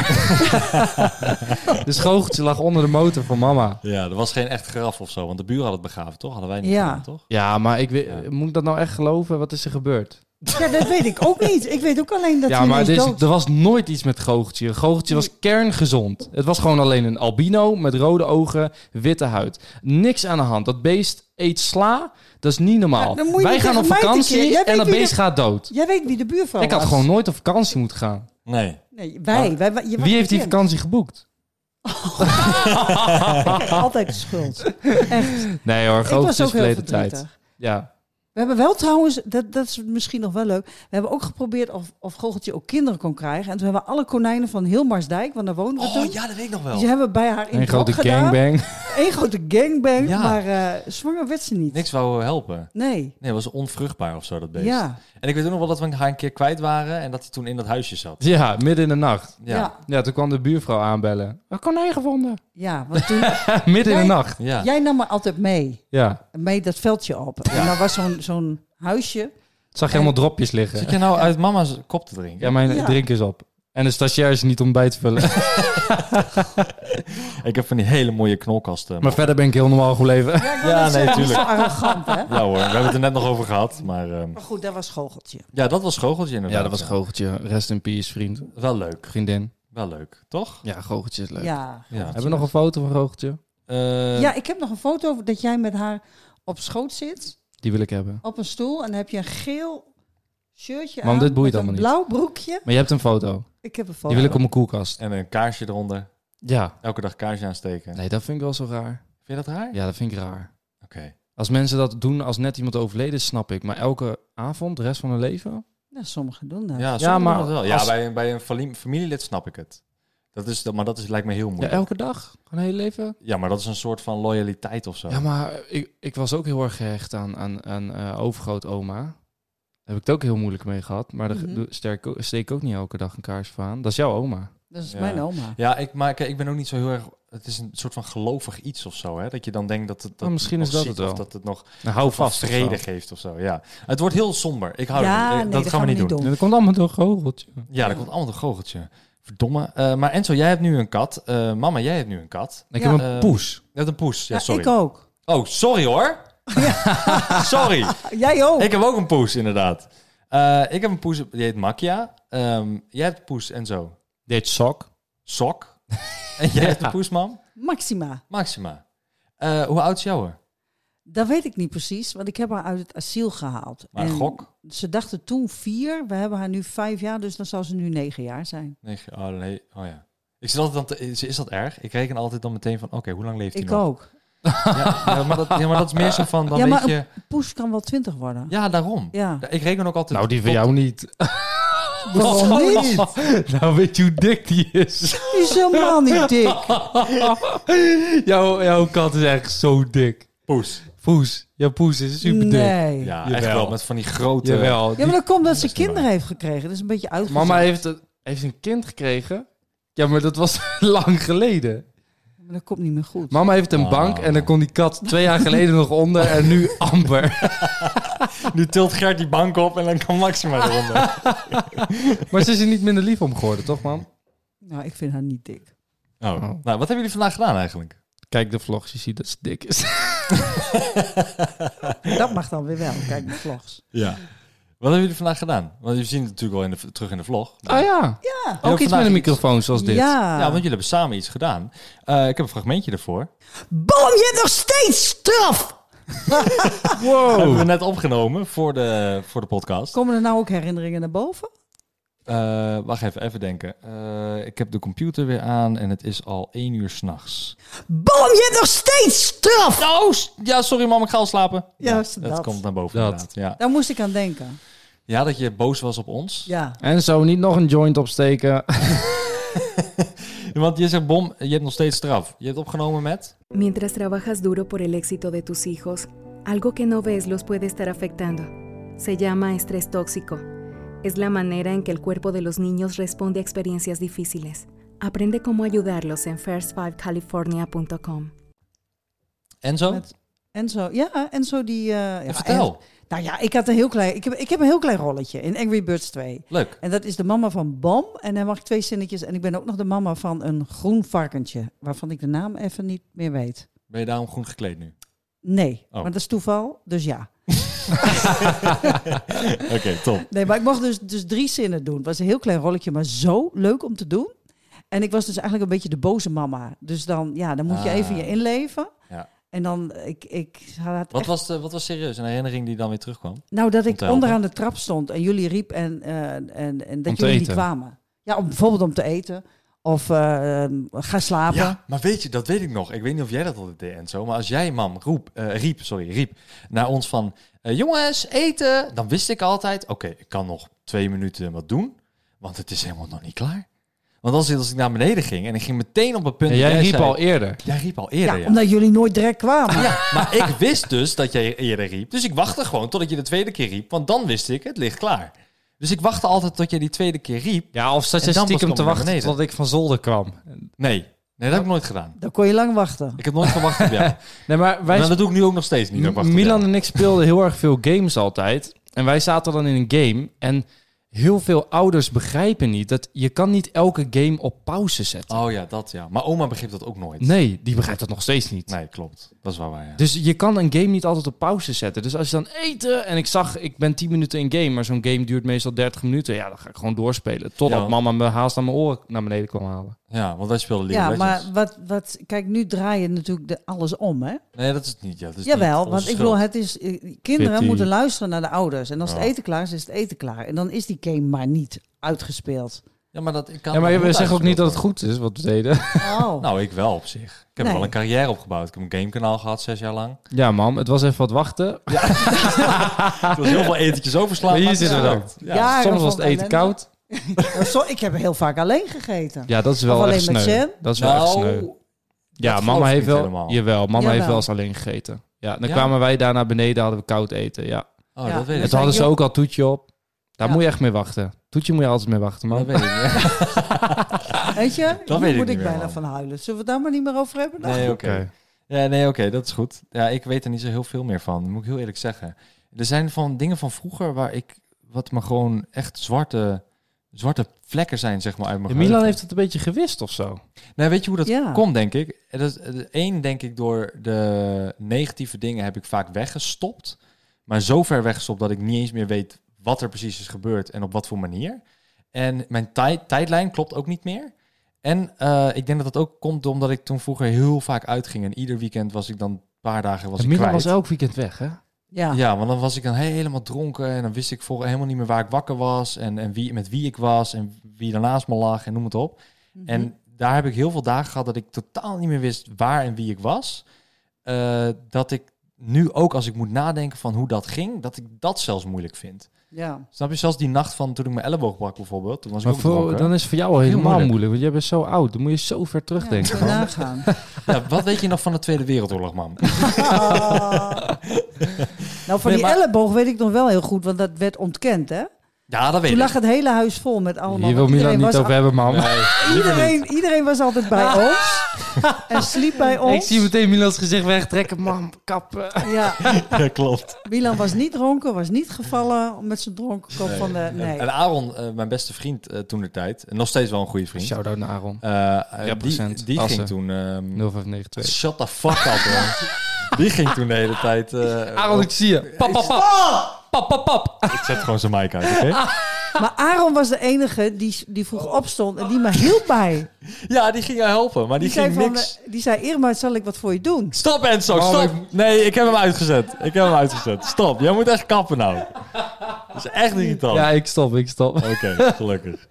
dus goocheltje lag onder de motor van mama. ja, er was geen echt graf of zo, want de buren hadden het begraven, toch? Hadden wij niet Ja. gedaan, toch? Ja, maar ik weet, moet ik dat nou echt geloven? Wat is er gebeurd? ja, dat weet ik ook niet. Ik weet ook alleen dat ja, hij maar er, ineens is- dood er was nooit iets met goocheltje. Een Goocheltje was kerngezond. Het was gewoon alleen een albino met rode ogen, witte huid. Niks aan de hand. Dat beest eet sla. Dat is niet normaal. Ja, dan moet je Wij niet gaan op tegen mij tekeer. vakantie Jij en weet dat wie beest de- gaat dood. Jij weet wie de buurvrouw Ik had was. gewoon nooit op vakantie moeten gaan. Nee. Nee, wij. wij, wij- je was Wie heeft die kind. vakantie geboekt? Altijd de schuld. Echt. Nee hoor, ik was goocheltje is ook heel verleden verdrietig. tijd. Ja. We hebben wel trouwens, dat, dat is misschien nog wel leuk. We hebben ook geprobeerd of, of Goocheltje ook kinderen kon krijgen. En toen hebben we alle konijnen van heel Marsdijk, want daar woonden we toen. Oh ja, dat weet ik nog wel. Die hebben we bij haar in Een het hok grote gedaan. gangbang. Eén grote gangbang. Ja. Maar eh, zwanger werd ze niet. Niks wou helpen. Nee. Nee, het was onvruchtbaar of zo, dat beest. Ja. En ik weet ook nog wel dat we haar een keer kwijt waren en dat hij toen in dat huisje zat. Ja, midden in de nacht. Ja. ja. Ja, toen kwam de buurvrouw aanbellen. Een konijn gevonden. want toen, Midden in de Jij- nacht. Ja. jij nam me altijd mee. Ja. Mee dat veldje op. En daar was zo'n zo'n huisje. Zag je helemaal dropjes liggen. Zit je nou uit mama's kop te drinken? Ja, mijn Ja. drink is op. En de stagiair is niet om bij te vullen. Ik heb van die hele mooie knolkasten. maar verder ben ik heel normaal gebleven. Ja, ik wou Ja, nee, net zeggen, tuurlijk. Zo arrogant, hè? Ja hoor, we hebben het er net nog over gehad. Maar ehm, Maar goed, dat was Goocheltje. ja, dat was goocheltje inderdaad. goocheltje. Rest in peace, vriend. Wel leuk, Vriendin. wel leuk, toch? Ja, goocheltje is leuk. Ja. Ja. Hebben we nog een foto van goocheltje? Eh, ja, ik heb nog een foto dat jij met haar op schoot zit. Die wil ik hebben. Op een stoel. En dan heb je een geel shirtje Mam, aan. dit boeit met allemaal een niet. blauw broekje. Maar je hebt een foto. Ik heb een foto. Die wil ik op mijn koelkast. En een kaarsje eronder. Ja. Elke dag kaarsje aansteken. Nee, dat vind ik wel zo raar. Vind je dat raar? Ja, dat vind ik raar. Oké. Als mensen dat doen als net iemand overleden is, snap ik. Maar elke avond, de rest van hun leven? Ja, Nou, sommigen doen dat. Ja, Ja, maar maar wel. Ja, als- bij, bij een fami- familielid snap ik het. Dat is, dat- maar dat is, lijkt me heel Ja, moeilijk. Ja, elke dag. Gewoon heel leven. maar dat is een soort van loyaliteit of zo. Ja, maar ik, ik was ook heel erg gehecht aan, aan, aan eh, overgrootoma. Daar heb ik het ook heel moeilijk mee gehad. Maar daar Mhm. doe- sterk ook- steek ik ook niet elke dag een kaars voor aan. Dat is jouw oma. Dat is Ja. mijn oma. Ja, ik, maar kijk, ik ben ook niet zo heel erg... Het is een soort van gelovig iets of zo, hè? Dat je dan denkt dat het... Dat Nou, misschien nog is dat ziet het wel. Of dat het nog Nou, hou van vast. vrede geeft of zo, ja. Het wordt heel somber. Ik hou er Ja, niet- eh, nee, dat, gaan we niet doen. dat komt allemaal door goocheltje. Ja, dat komt allemaal een goocheltje. Verdomme. Eh, maar Enzo, jij hebt nu een kat. Eh, mama, jij hebt nu een kat. Ik Ja. heb een Eh, poes. Net een poes. Ja, Ja, sorry. ik ook. Oh, sorry hoor. sorry. Jij ook. Ik heb ook een poes, inderdaad. Eh, ik heb een poes, die heet Makia. Ehm, jij hebt een poes en zo. Dit sok. Sok. en jij hebt een Ja. poes, mam. Maxima. Maxima. Eh, hoe oud is jouw? Dat weet ik niet precies, want ik heb haar uit het asiel gehaald. Maar En gok? Ze dachten toen vier, we hebben haar nu vijf jaar, dus dan zou ze nu negen jaar zijn. Negen. Oh nee. Oh ja. Ik zit altijd dan te- is, is dat erg? Ik reken altijd dan meteen van, oké, hoe lang leeft hij ik nog? ook. Ja, ja, maar dat, ja, maar dat is meer zo van, dan ja, weet maar je... een poes kan wel twintig worden. Ja, daarom. Ja. Ik reken ook altijd... Nou, die van tot- jou niet. Waarom niet? nou, weet je hoe dik die is? Die is helemaal niet dik. jouw, jouw kat is echt zo dik. Poes. Poes. Jouw poes is super dik. Nee. Ja, Jawel. echt wel. Met van die grote... Jawel. Ja, maar dat komt dat ze is niet kinderen heeft gekregen. Dat is een beetje Die- uitgezet. Mama heeft, een- heeft een kind gekregen. Ja, maar dat was lang geleden. Maar dat komt niet meer goed. Mama heeft een Oh. bank en dan kon die kat twee jaar geleden nog onder en nu amper. Nu tilt Gert die bank op en dan kan Maxima eronder. Maar ze is er niet minder lief om geworden, toch man? Nou, ik vind haar niet dik. Oh. Nou, wat hebben jullie vandaag gedaan eigenlijk? Kijk de vlogs, je ziet dat ze dik is. Dat mag dan weer wel. Kijk, de vlogs. Ja. Wat hebben jullie vandaag gedaan? Want jullie zien het natuurlijk al in de, terug in de vlog. Ah ja, Ja. ook iets met vandaag een iets. microfoon zoals dit. Ja. Ja, want jullie hebben samen iets gedaan. Eh, ik heb een fragmentje ervoor. Bam, je hebt nog steeds straf! Wow. Hebben we net opgenomen voor de, voor de podcast. Komen er nou ook herinneringen naar boven? Eh, wacht even, even denken. Eh, ik heb de computer weer aan en het is al één uur s'nachts. Bam, je hebt nog steeds straf! Oh, s- ja, sorry mam, ik ga al slapen. Ja, dat, dat- komt naar boven Dat. inderdaad. Ja. Daar moest ik aan denken. ja, dat je boos was op ons. Ja. En zo niet nog een joint opsteken. Want je zegt, Bom, je hebt nog steeds straf. Je hebt opgenomen met... Mientras trabajas duro por el éxito de tus hijos, algo que no ves los puede estar afectando. Se llama estrés tóxico. Es la manera en que el cuerpo de los niños responde a experiencias difíciles. Aprende cómo ayudarlos en first5california.com. Enzo? Met- Enzo, ja, Enzo die... eh, ja, vertel. en- nou ja, ik, had een heel klein, ik, heb, ik heb een heel klein rolletje in Angry Birds 2. Leuk. En dat is de mama van Bam. En hij mag twee zinnetjes. En ik ben ook nog de mama van een groen varkentje. Waarvan ik de naam even niet meer weet. Ben je daarom groen gekleed nu? Nee, Oh. maar dat is toeval. Dus ja. Oké, top. Nee, maar ik mocht dus, dus drie zinnen doen. Het was een heel klein rolletje, maar zo leuk om te doen. En ik was dus eigenlijk een beetje de boze mama. Dus dan, ja, dan moet je Ah. even je inleven. Ja. En dan, ik, ik had Wat echt- was, de, wat was serieus een herinnering die dan weer terugkwam? nou dat om ik te helpen? onderaan de trap stond en jullie riep en, eh, en, en dat Om te jullie niet eten. kwamen. Ja, om, bijvoorbeeld om te eten of eh, ehm, ga slapen. maar weet je, dat weet ik nog. Ik weet niet of jij dat altijd deed en zo. Maar als jij, mam, roep, eh, riep, sorry, riep naar ons van... eh, jongens, eten! Dan wist ik altijd, oké, ik kan nog twee minuten wat doen. Want het is helemaal nog niet klaar. Want als, als ik naar beneden ging en ik ging meteen op het punt... En dat jij riep zei- al e- eerder. Jij riep al Ja, eerder, ja. omdat jullie nooit direct kwamen. Ja, maar ik wist dus dat jij eerder riep. Dus ik wachtte gewoon totdat je de tweede keer riep. Want dan wist ik, het ligt klaar. Dus ik wachtte altijd tot jij die tweede keer riep. Ja, of zat En je dan pas stiekem kwam te ik naar wachten beneden. tot ik van zolder kwam. Nee, nee dat heb ik nooit gedaan. Dan kon je lang wachten. Ik heb nooit gewacht op jou. Nee, maar wij Maar dat doe ik nu ook nog steeds niet. dat ik wacht op Milan jou. en ik speelden heel erg veel games altijd. En wij zaten dan in een game. En heel veel ouders begrijpen niet dat je kan niet elke game op pauze zetten. Oh ja, dat ja. Maar oma begreep dat ook nooit. Nee, die begrijpt dat nog steeds niet. Nee, klopt. Dat is wel waar, ja. Dus je kan een game niet altijd op pauze zetten. Dus als je dan eten en ik zag, ik ben 10 minuten in game, maar zo'n game duurt meestal 30 minuten. Ja, dan ga ik gewoon doorspelen. Totdat Ja. mama me haast aan mijn oren naar beneden kwam halen. Ja, want wij speelden League Ja, of maar Legends. wat, wat, kijk, nu draai je natuurlijk de, alles om, hè? Nee, dat is het niet. Ja, dat is Jawel, niet want onze ik schuld. bedoel, het is, eh, kinderen Fitty. moeten luisteren naar de ouders. En als Ja. het eten klaar is, is het eten klaar. En dan is die game maar niet uitgespeeld. Ja, maar dat ik kan Ja, maar dat we moet zeggen ook niet dat het uitgespeeld goed is wat we deden. Oh. worden. Nou, ik wel op zich. Ik heb Nee. wel een carrière opgebouwd. Ik heb een gamekanaal gehad, zes jaar lang. Ja, mam, het was even wat wachten. Ik was heel veel etentjes overslaan. Ah. Maar maar het is hier zitten we dan. gelukt. Jaren Soms was het van eten ellende. koud. Ja, zo- ik heb heel vaak alleen gegeten. Ja, dat is Of wel alleen echt met sneu. jam? Nou, Dat is wel Nou, echt oh, sneu. Ja, dat mama geloof ik heeft niet wel. helemaal. Jawel, mama Jawel. heeft wel eens alleen gegeten. Ja, dan Ja? kwamen wij daar naar beneden, hadden we koud eten. Ja. Oh, Ja. dat weet ik. Dus En wij toen hadden ze jong- ook al toetje op. Daar Ja. moet je echt mee wachten. Toetje moet je altijd mee wachten, Dat man. weet ik niet. Weet je, weet daar ik moet niet ik meer, bijna man. van huilen. Zullen we het daar maar niet meer over hebben? dan? Nee, oké. Oké. Ja, nee, oké, dat is goed. Ja, ik weet er niet zo heel veel meer van, moet ik heel eerlijk zeggen. Er zijn van dingen van vroeger waar ik, wat me gewoon echt zwarte zwarte vlekken zijn, zeg maar, uit mijn En geheugen. Milan heeft het een beetje gewist of zo. Nou, weet je hoe dat Ja. komt, denk ik? Dat is eh, één, denk ik, door de negatieve dingen heb ik vaak weggestopt. Maar zo ver weggestopt dat ik niet eens meer weet wat er precies is gebeurd en op wat voor manier. En mijn tijd tijdlijn klopt ook niet meer. En eh, ik denk dat dat ook komt omdat ik toen vroeger heel vaak uitging. En ieder weekend was ik dan een paar dagen was en ik Milan kwijt. was elk weekend weg, hè? Ja. Ja, want dan was ik dan helemaal dronken en dan wist ik voor, helemaal niet meer waar ik wakker was en, en wie, met wie ik was en wie daarnaast me lag en noem het op. Mhm. En daar heb ik heel veel dagen gehad dat ik totaal niet meer wist waar en wie ik was. Eh, dat ik nu ook als ik moet nadenken van hoe dat ging, dat ik dat zelfs moeilijk vind. ja. Snap je? Zelfs die nacht van toen ik mijn elleboog brak bijvoorbeeld, toen was Maar ik ook voor, dronken. dan is het voor jou al Heel helemaal moeilijk. moeilijk. want jij bent zo oud. Dan moet je zo ver terugdenken. Ja, nagaan. Ja, wat weet je nog van de Tweede Wereldoorlog, man? Nou, van Nee, die maar- elleboog weet ik nog wel heel goed, want dat werd ontkend, hè? Ja, dat weet Toen ik. lag het hele huis vol met allemaal... Hier wil want Milan iedereen niet was over hebben, man. al- Iedereen, iedereen was altijd bij ons en sliep bij ons. Ik zie meteen Milans gezicht wegtrekken. Man, kappen. Ja, Ja, klopt. Milan was niet dronken, was niet gevallen met zijn dronken kop van de... Nee. En Aaron, eh, mijn beste vriend toen de tijd, en nog steeds wel een goede vriend. Shout-out naar Aaron. Eh, eh, die Represent, die Assen. ging toen... ehm, 0592. shut the fuck up, man. Die ging toen de hele tijd... eh, Aaron, ik zie je. Pap, pap, pap. Pap, pap, pap. ik zet gewoon zijn mic uit, oké? Maar Aaron was de enige die, die vroeg opstond en die me hielp bij. Die, Ja, die ging haar helpen, maar die, zei ging van, niks... eh, die zei, Irma, zal ik wat voor je doen? Stop, Enzo, stop! Nee, Oh, ik heb hem uitgezet. Ik heb hem uitgezet. Stop, jij moet echt kappen nou. Dat is echt irritant. Ja, ik stop, ik stop. Oké, gelukkig.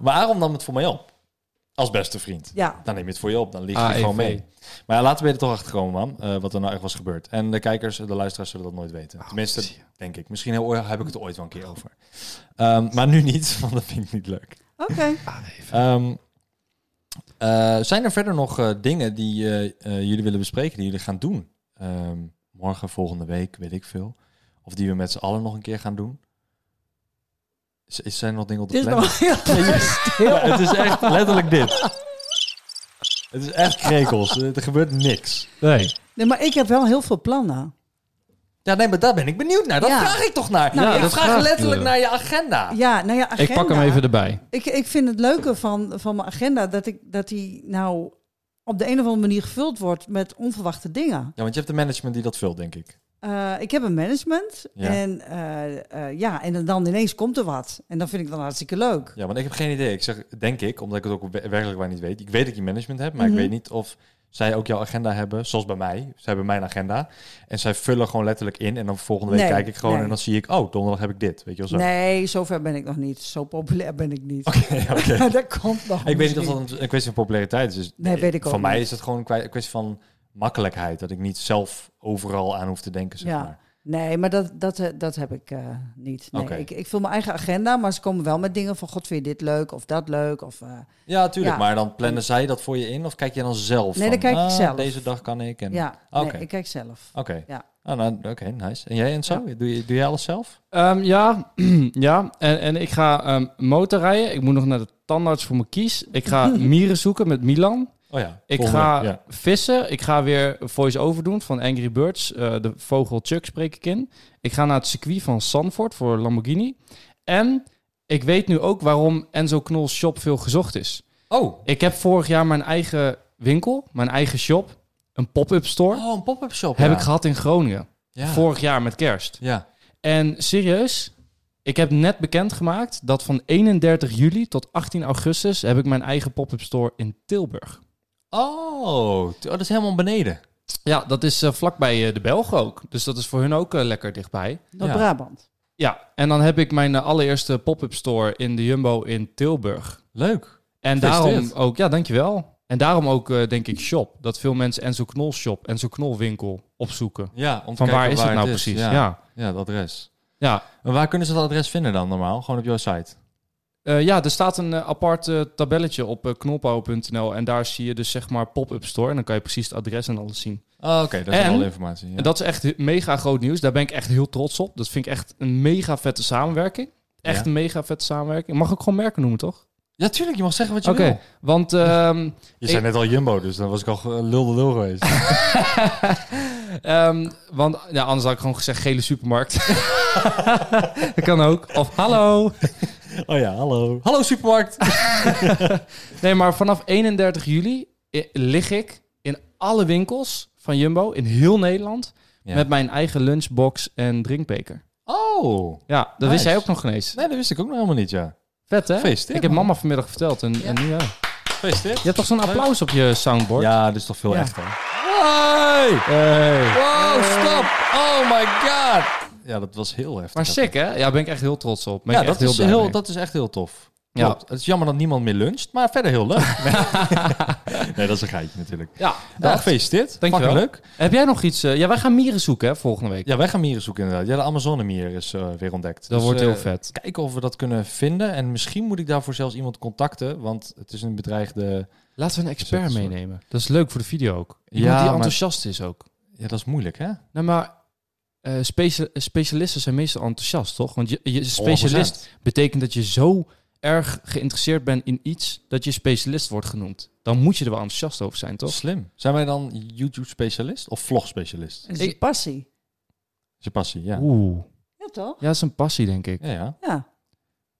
Maar Aaron nam het voor mij op. Als beste vriend. Ja. Dan neem je het voor je op, dan lig je AEV. gewoon mee. Maar ja, laten we er toch achter komen, man, eh, wat er nou echt was gebeurd. En de kijkers, de luisteraars zullen dat nooit weten. Tenminste, denk ik. Misschien heel, eh, heb ik het ooit wel een keer over. Ehm, maar nu niet, want dat vind ik niet leuk. Oké. Ehm, eh, zijn er verder nog eh, dingen die eh, eh, jullie willen bespreken, die jullie gaan doen? Ehm, morgen, volgende week, weet ik veel. Of die we met z'n allen nog een keer gaan doen? Z- Is, zijn er nog dingen op Het de is planning? nog heel Ja, het is echt letterlijk dit. Het is echt krekels. Er gebeurt niks. Nee. Nee, maar ik heb wel heel veel plannen. Ja, nee, maar daar ben ik benieuwd naar. Dat Ja. vraag ik toch naar. Nou, ik dat vraag vraag ik letterlijk je. naar je agenda. Ja, nou ja, agenda. Ik pak hem even erbij. Ik, ik vind het leuke van, van mijn agenda dat, ik, dat die nou op de een of andere manier gevuld wordt met onverwachte dingen. Ja, want je hebt de management die dat vult, denk ik. Eh, ik heb een management Ja. en, eh, eh, ja, en dan ineens komt er wat. En dat vind ik dan hartstikke leuk. Ja, want ik heb geen idee. Ik zeg, denk ik, omdat ik het ook we- werkelijk waar niet weet. Ik weet dat je management hebt, maar Mhm. ik weet niet of zij ook jouw agenda hebben, zoals bij mij. Zij hebben mijn agenda. En zij vullen gewoon letterlijk in. En dan volgende week Nee, kijk ik gewoon nee. en dan zie ik, oh, donderdag heb ik dit. Weet je wel zo. Nee, zover ben ik nog niet. Zo populair ben ik niet. Oké, oké. dat komt nog. Ik weet niet of misschien. dat een- een kwestie van populariteit is. Dus Nee, weet ik ook Voor mij niet. is het gewoon een kwa- een kwestie van makkelijkheid. Dat ik niet zelf overal aan hoef te denken, zeg Ja. maar. Nee, maar dat, dat, eh, dat heb ik eh, niet. Nee, Oké. ik, ik vul mijn eigen agenda, maar ze komen wel met dingen van... God, vind je dit leuk of dat leuk? Of, eh, Ja, tuurlijk. Ja. Maar dan plannen zij dat voor je in? Of kijk je dan zelf? Nee, van, dan kijk ik ah, zelf. Deze dag kan ik. En... ja, Ah, nee, Oké. ik kijk zelf. Oké. Ja. Ah, nou, Oké, nice. En jij en zo? Doe, je, doe jij alles zelf? Ehm, ja, ja. En, en ik ga ehm motorrijden. Ik moet nog naar de tandarts voor mijn kies. Ik ga mieren zoeken met Milan. Oh ja. Ik volgende ga week, ja. vissen. Ik ga weer voice-over doen van Angry Birds. Eh, de vogel Chuck spreek ik in. Ik ga naar het circuit van Sanford voor Lamborghini. En ik weet nu ook waarom Enzo Knol's shop veel gezocht is. Oh. Ik heb vorig jaar mijn eigen winkel, mijn eigen shop, een pop-up store, Oh, een pop-up shop. heb ja. ik gehad in Groningen. Ja. Vorig jaar met kerst. Ja. En serieus, ik heb net bekendgemaakt dat van 31 juli tot 18 augustus heb ik mijn eigen pop-up store in Tilburg. Oh, t- oh, dat is helemaal beneden. Ja, dat is eh, vlakbij eh, de Belgen ook. Dus dat is voor hun ook eh, lekker dichtbij. Noord-Brabant. Ja, en dan heb ik mijn eh, allereerste pop-up store in de Jumbo in Tilburg. Leuk. En daarom Gefeliciteerd. ook, ja, dankjewel. En daarom ook, eh, denk ik, shop. Dat veel mensen Enzo Knol shop, Enzo Knol winkel opzoeken. Ja, om te Van kijken waar is het nou precies? Ja. Ja. ja. Ja. het adres. Ja. En waar kunnen ze dat adres vinden dan normaal? Gewoon op jouw site? Eh, ja, er staat een eh, apart eh, tabelletje op eh, knolpower.nl. En daar zie je dus zeg maar pop-up store. En dan kan je precies het adres en alles zien. Oh, Oké, dat is En- alle informatie. Ja. En dat is echt he- mega groot nieuws. Daar ben ik echt heel trots op. Dat vind ik echt een mega vette samenwerking. Echt Ja. een mega vette samenwerking. Mag ook gewoon merken noemen, toch? Ja, tuurlijk. Je mag zeggen wat je Oké, wil. want ehm, Je Ik- zei net al Jumbo, dus dan was ik al ge- lul de lul geweest. Ehm, want ja, anders had ik gewoon gezegd gele supermarkt. dat kan ook. Of hallo. Oh ja, hallo. Hallo supermarkt. Nee, maar vanaf 31 juli i- lig ik in alle winkels van Jumbo in heel Nederland Ja. met mijn eigen lunchbox en drinkbeker. Oh. Ja, dat wist Nice. jij ook nog geen eens. Nee, dat wist ik ook nog helemaal niet, ja. Vet hè? Gefeliciteerd, Ik heb man. mama vanmiddag verteld en, en nu ja. Gefeliciteerd. Je hebt toch zo'n applaus op je soundboard? Ja, dat is toch veel Ja. echter. Hey! Hey. Wow, stop! Oh my god! Ja, dat was heel heftig. Maar sick hè? Ja, ben ik echt heel trots op. Ben ja, ik echt dat, is heel blij heel, mee. dat is echt heel tof. Ja. Klopt. Het is jammer dat niemand meer luncht, maar verder heel leuk. nee, dat is een geitje natuurlijk. Ja, Nou, echt. gefeliciteerd. Dankjewel. Fucking leuk. Heb jij nog iets? eh, ja, wij gaan mieren zoeken hè, volgende week. Ja, wij gaan mieren zoeken inderdaad. Ja, de Amazonemier is eh, weer ontdekt. Dat Dus, wordt eh, heel vet. Kijken of we dat kunnen vinden. En misschien moet ik daarvoor zelfs iemand contacten, want het is een bedreigde... Laten we een expert Zet het zo. meenemen. Dat is leuk voor de video ook. Iemand Ja, die maar- enthousiast is ook. Ja, dat is moeilijk, hè? Nou, maar eh, specia- specialisten zijn meestal enthousiast, toch? Want je, je specialist 100%. betekent dat je zo erg geïnteresseerd bent in iets dat je specialist wordt genoemd. Dan moet je er wel enthousiast over zijn, toch? Slim. Zijn wij dan YouTube-specialist of vlog-specialist? Dat is je Ik- passie. Is je passie, ja. Eh. Oeh. Ja, toch? Ja, dat is een passie, denk ik. Ja, ja. Ja.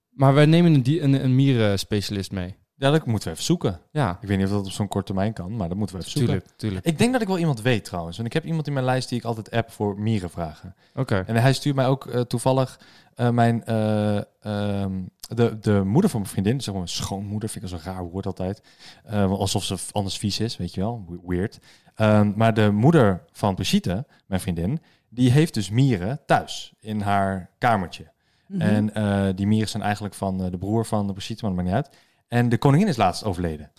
Maar wij nemen een, die- een, een mierenspecialist mee. Ja, dat moeten we even zoeken. Ja, Ik weet niet of dat op zo'n korte termijn kan, maar dat moeten we even zoeken. tuurlijk, tuurlijk. Ik denk dat ik wel iemand weet trouwens. Want ik heb iemand in mijn lijst die ik altijd app voor mierenvragen. Oké. En hij stuurt mij ook eh, toevallig eh, mijn, eh, ehm, de, de moeder van mijn vriendin, zeg maar mijn schoonmoeder, vind ik zo'n raar woord altijd. Eh, alsof ze v- anders vies is, weet je wel. We- Weird. Ehm, maar de moeder van Brigitte, mijn vriendin, die heeft dus mieren thuis in haar kamertje. En eh, die mieren zijn eigenlijk van eh, de broer van Brigitte, maar dat maakt niet uit. En de koningin is laatst overleden.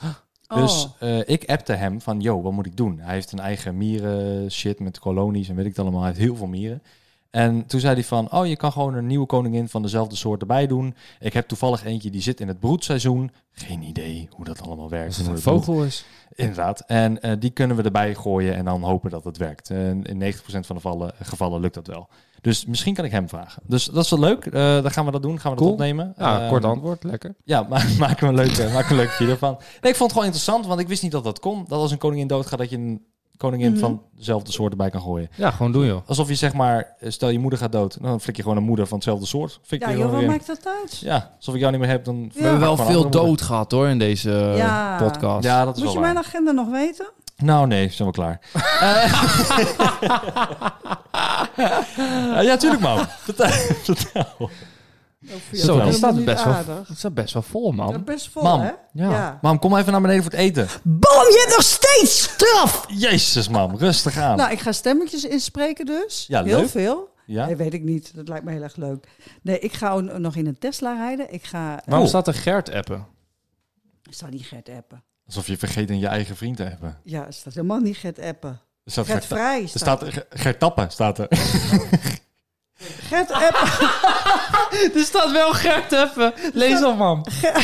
Dus Oh. eh, ik appte hem van, yo, wat moet ik doen? Hij heeft een eigen mieren shit met kolonies en weet ik het allemaal. Hij heeft heel veel mieren. En toen zei hij van, oh, je kan gewoon een nieuwe koningin van dezelfde soort erbij doen. Ik heb toevallig eentje die zit in het broedseizoen. Geen idee hoe dat allemaal werkt. Als het en hoe een dat moet. vogel is. Inderdaad. En eh, die kunnen we erbij gooien en dan hopen dat het werkt. En in 90% van de vallen- gevallen lukt dat wel. Dus misschien kan ik hem vragen. Dus dat is wel leuk. Eh, dan gaan we dat doen. Gaan we Cool. dat opnemen. Ja, Ehm, kort antwoord, eh, lekker. ja, maar maak er een leuke, maak er een leuke video van. Nee, ik vond het gewoon interessant, want ik wist niet dat dat kon. Dat als een koningin doodgaat, dat je een koningin van dezelfde soort erbij kan gooien. Ja, gewoon doen joh. Alsof je zeg maar, eh, stel je moeder gaat dood, dan flik je gewoon een moeder van hetzelfde soort. Flik Ja, je joh, gewoon wat weer in. maakt dat uit? Ja, alsof ik jou niet meer heb, dan... We hebben Gewoon een andere moeder. gehad hoor in deze eh, Ja, Ja. dat is Moet je wel waar. mijn agenda nog weten? Nou nee, zijn we klaar. Eh, ja, tuurlijk man. Vertel. vertel. Zo, dat dat is staat niet best wel, aardig. dat staat best wel vol Ja, man. best vol, Mam. hè? Ja. Mam, kom even naar beneden voor het eten. Boom, je hebt nog steeds straf! Jezus mam, rustig aan. Nou, ik ga stemmetjes inspreken dus. Ja, Heel leuk. veel. ja? Nee, weet ik niet. Dat lijkt me heel erg leuk. Nee, ik ga o- nog in een Tesla rijden. Ik ga... eh, Waarom Oh. staat er Gert appen? Ik zal niet Gert appen. Alsof je vergeet in je eigen vriend te hebben. Ja, er staat helemaal niet Gert appen. Er staat Gert Gert, Vrij er staat. staat Ger- Gertappen, staat er. Gert appen. Er staat wel Gert appen. Lees op man.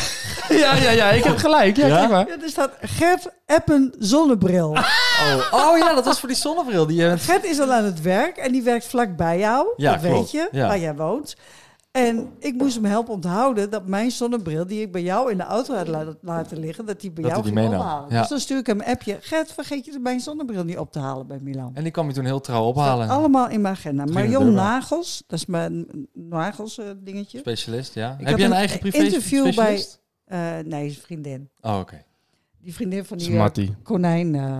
Ja, ja, ja, ik heb gelijk. Ja, Ja? kijk maar. Ja, er staat Gert appen zonnebril. Oh, oh ja, dat was voor die zonnebril die je hebt. Gert is al aan het werk en die werkt vlakbij jou. Ja, dat klopt. weet je, Ja. waar jij woont. En ik moest hem helpen onthouden dat mijn zonnebril, die ik bij jou in de auto had la- laten liggen, dat die bij Dat jou hij ging die meenam. ophalen. Ja. Dus dan stuur ik hem een appje. Gert, vergeet je mijn zonnebril niet op te halen bij Milan. En die kwam je toen heel trouw Staat ophalen. allemaal in mijn agenda. ging de Marion deur wel. Nagels, dat is mijn Nagels eh, dingetje. Specialist, ja. Ik Heb had je een een eh, eigen privé interview bij- specialist? Eh, nee, is een vriendin. Oh, oké. Die vriendin van die eh, Smarty. konijn. eh,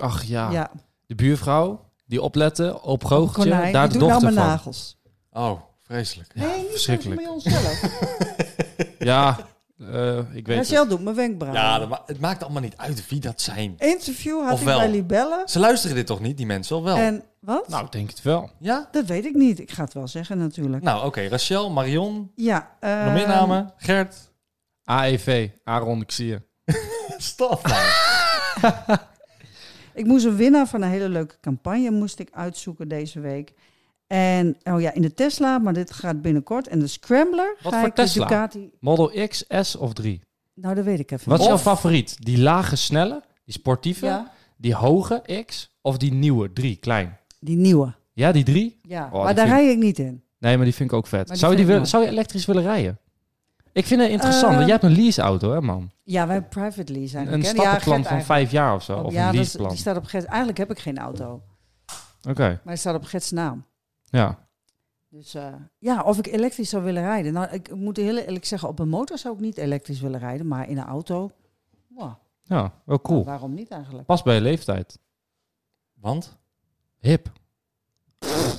Ach ja. ja, de buurvrouw die oplette op goocheltje, konijn. daar de die doet nou dochter mijn van. nagels. Oh, vreselijk. nee, niet verschrikkelijk. verschrikkelijk. bij onszelf. Ja, eh, ik weet het. Rachel doet mijn wenkbrauwen. Ja, dat ma- het maakt allemaal niet uit wie dat zijn. Interview had Of ik wel? bij Libelle. Ze luisteren dit toch niet, die mensen? Of wel? En wat? Nou, ik denk het wel. Ja? Dat weet ik niet. Ik ga het wel zeggen natuurlijk. Nou, oké. Rachel, Marion, ja. eh, nog meer namen? Gert. AEV, E Aaron, ik zie je. Stop. nou. Ik moest een winnaar van een hele leuke campagne moest ik uitzoeken deze week. En oh ja, in de Tesla, maar dit gaat binnenkort. En de Scrambler. Wat ga voor ik de Tesla? Ducati. Model X, S of 3? Nou, dat weet ik even. Wat is niet. jouw favoriet? Die lage snelle, die sportieve, Ja, die hoge X of die nieuwe 3, klein? die nieuwe. Ja, die 3? Ja, Oh, maar die daar vind- rij ik niet in. Nee, maar die vind ik ook vet. die Zou je, vind die ik nou- mooi. willen, zou je elektrisch willen rijden? Ik vind het interessant, Eh, want jij hebt een leaseauto, hè man? Ja, wij privately zijn. Een ik, hè? Ja, stappenplan Gert van eigenlijk. Oh, vijf jaar of zo, of Ja, een dat is- leaseplan. die staat op Gert. Eigenlijk heb ik geen auto, Oké, maar die staat op Gert's naam. ja. Dus eh, ja, of ik elektrisch zou willen rijden. Nou, ik moet heel eerlijk zeggen, op een motor zou ik niet elektrisch willen rijden, maar in een auto, wow, Ja, wel nou, cool. waarom niet eigenlijk? Pas bij je leeftijd. Want? Hip.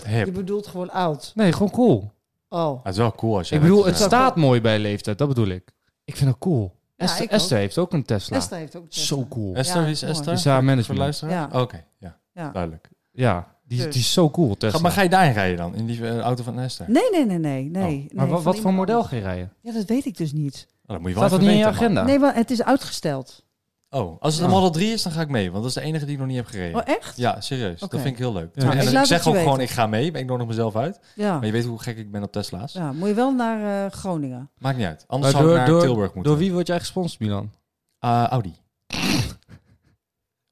Je bedoelt gewoon oud. Nee, gewoon cool. Oh, Het is wel cool als je... Ik bedoel, het elektrisch rijdt. staat mooi bij je leeftijd, dat bedoel ik. Ik vind het cool. Ja, Esther, ik ook. Esther heeft ook een Tesla. Esther heeft ook een Tesla. Zo cool. Esther, Ja, wie is mooi. Esther? Dus haar Voor management. de luisteraar? Ja. Oké, ja. Ja. Duidelijk. Ja, die, Dus. die is zo cool, Ga- Tesla. maar ga je daarin rijden dan? In die eh, auto van Esther? Nee, nee, nee, nee. nee, nee Oh, maar van wat, wat voor iemand model anders. ga je rijden? Ja, dat weet ik dus niet. Oh, dan moet je wel Staat dat even niet in je weten, man. agenda? Nee, maar het is uitgesteld. Oh, als het een Ja. Model 3 is, dan ga ik mee. Want dat is de enige die ik nog niet heb gereden. Oh, echt? Ja, serieus. Oké. Dat vind ik heel leuk. Ja. En Nou, ik ik, laat het zeg je ook gewoon, weten. ik ga mee. maar Ik nodig mezelf uit. Ja. Maar je weet hoe gek ik ben op Tesla's. ja. Moet je wel naar eh, Groningen. Maakt niet uit. Anders Maar zou ik door, naar door, Tilburg moeten. door wie word jij gesponsord, Milan? Eh, Audi.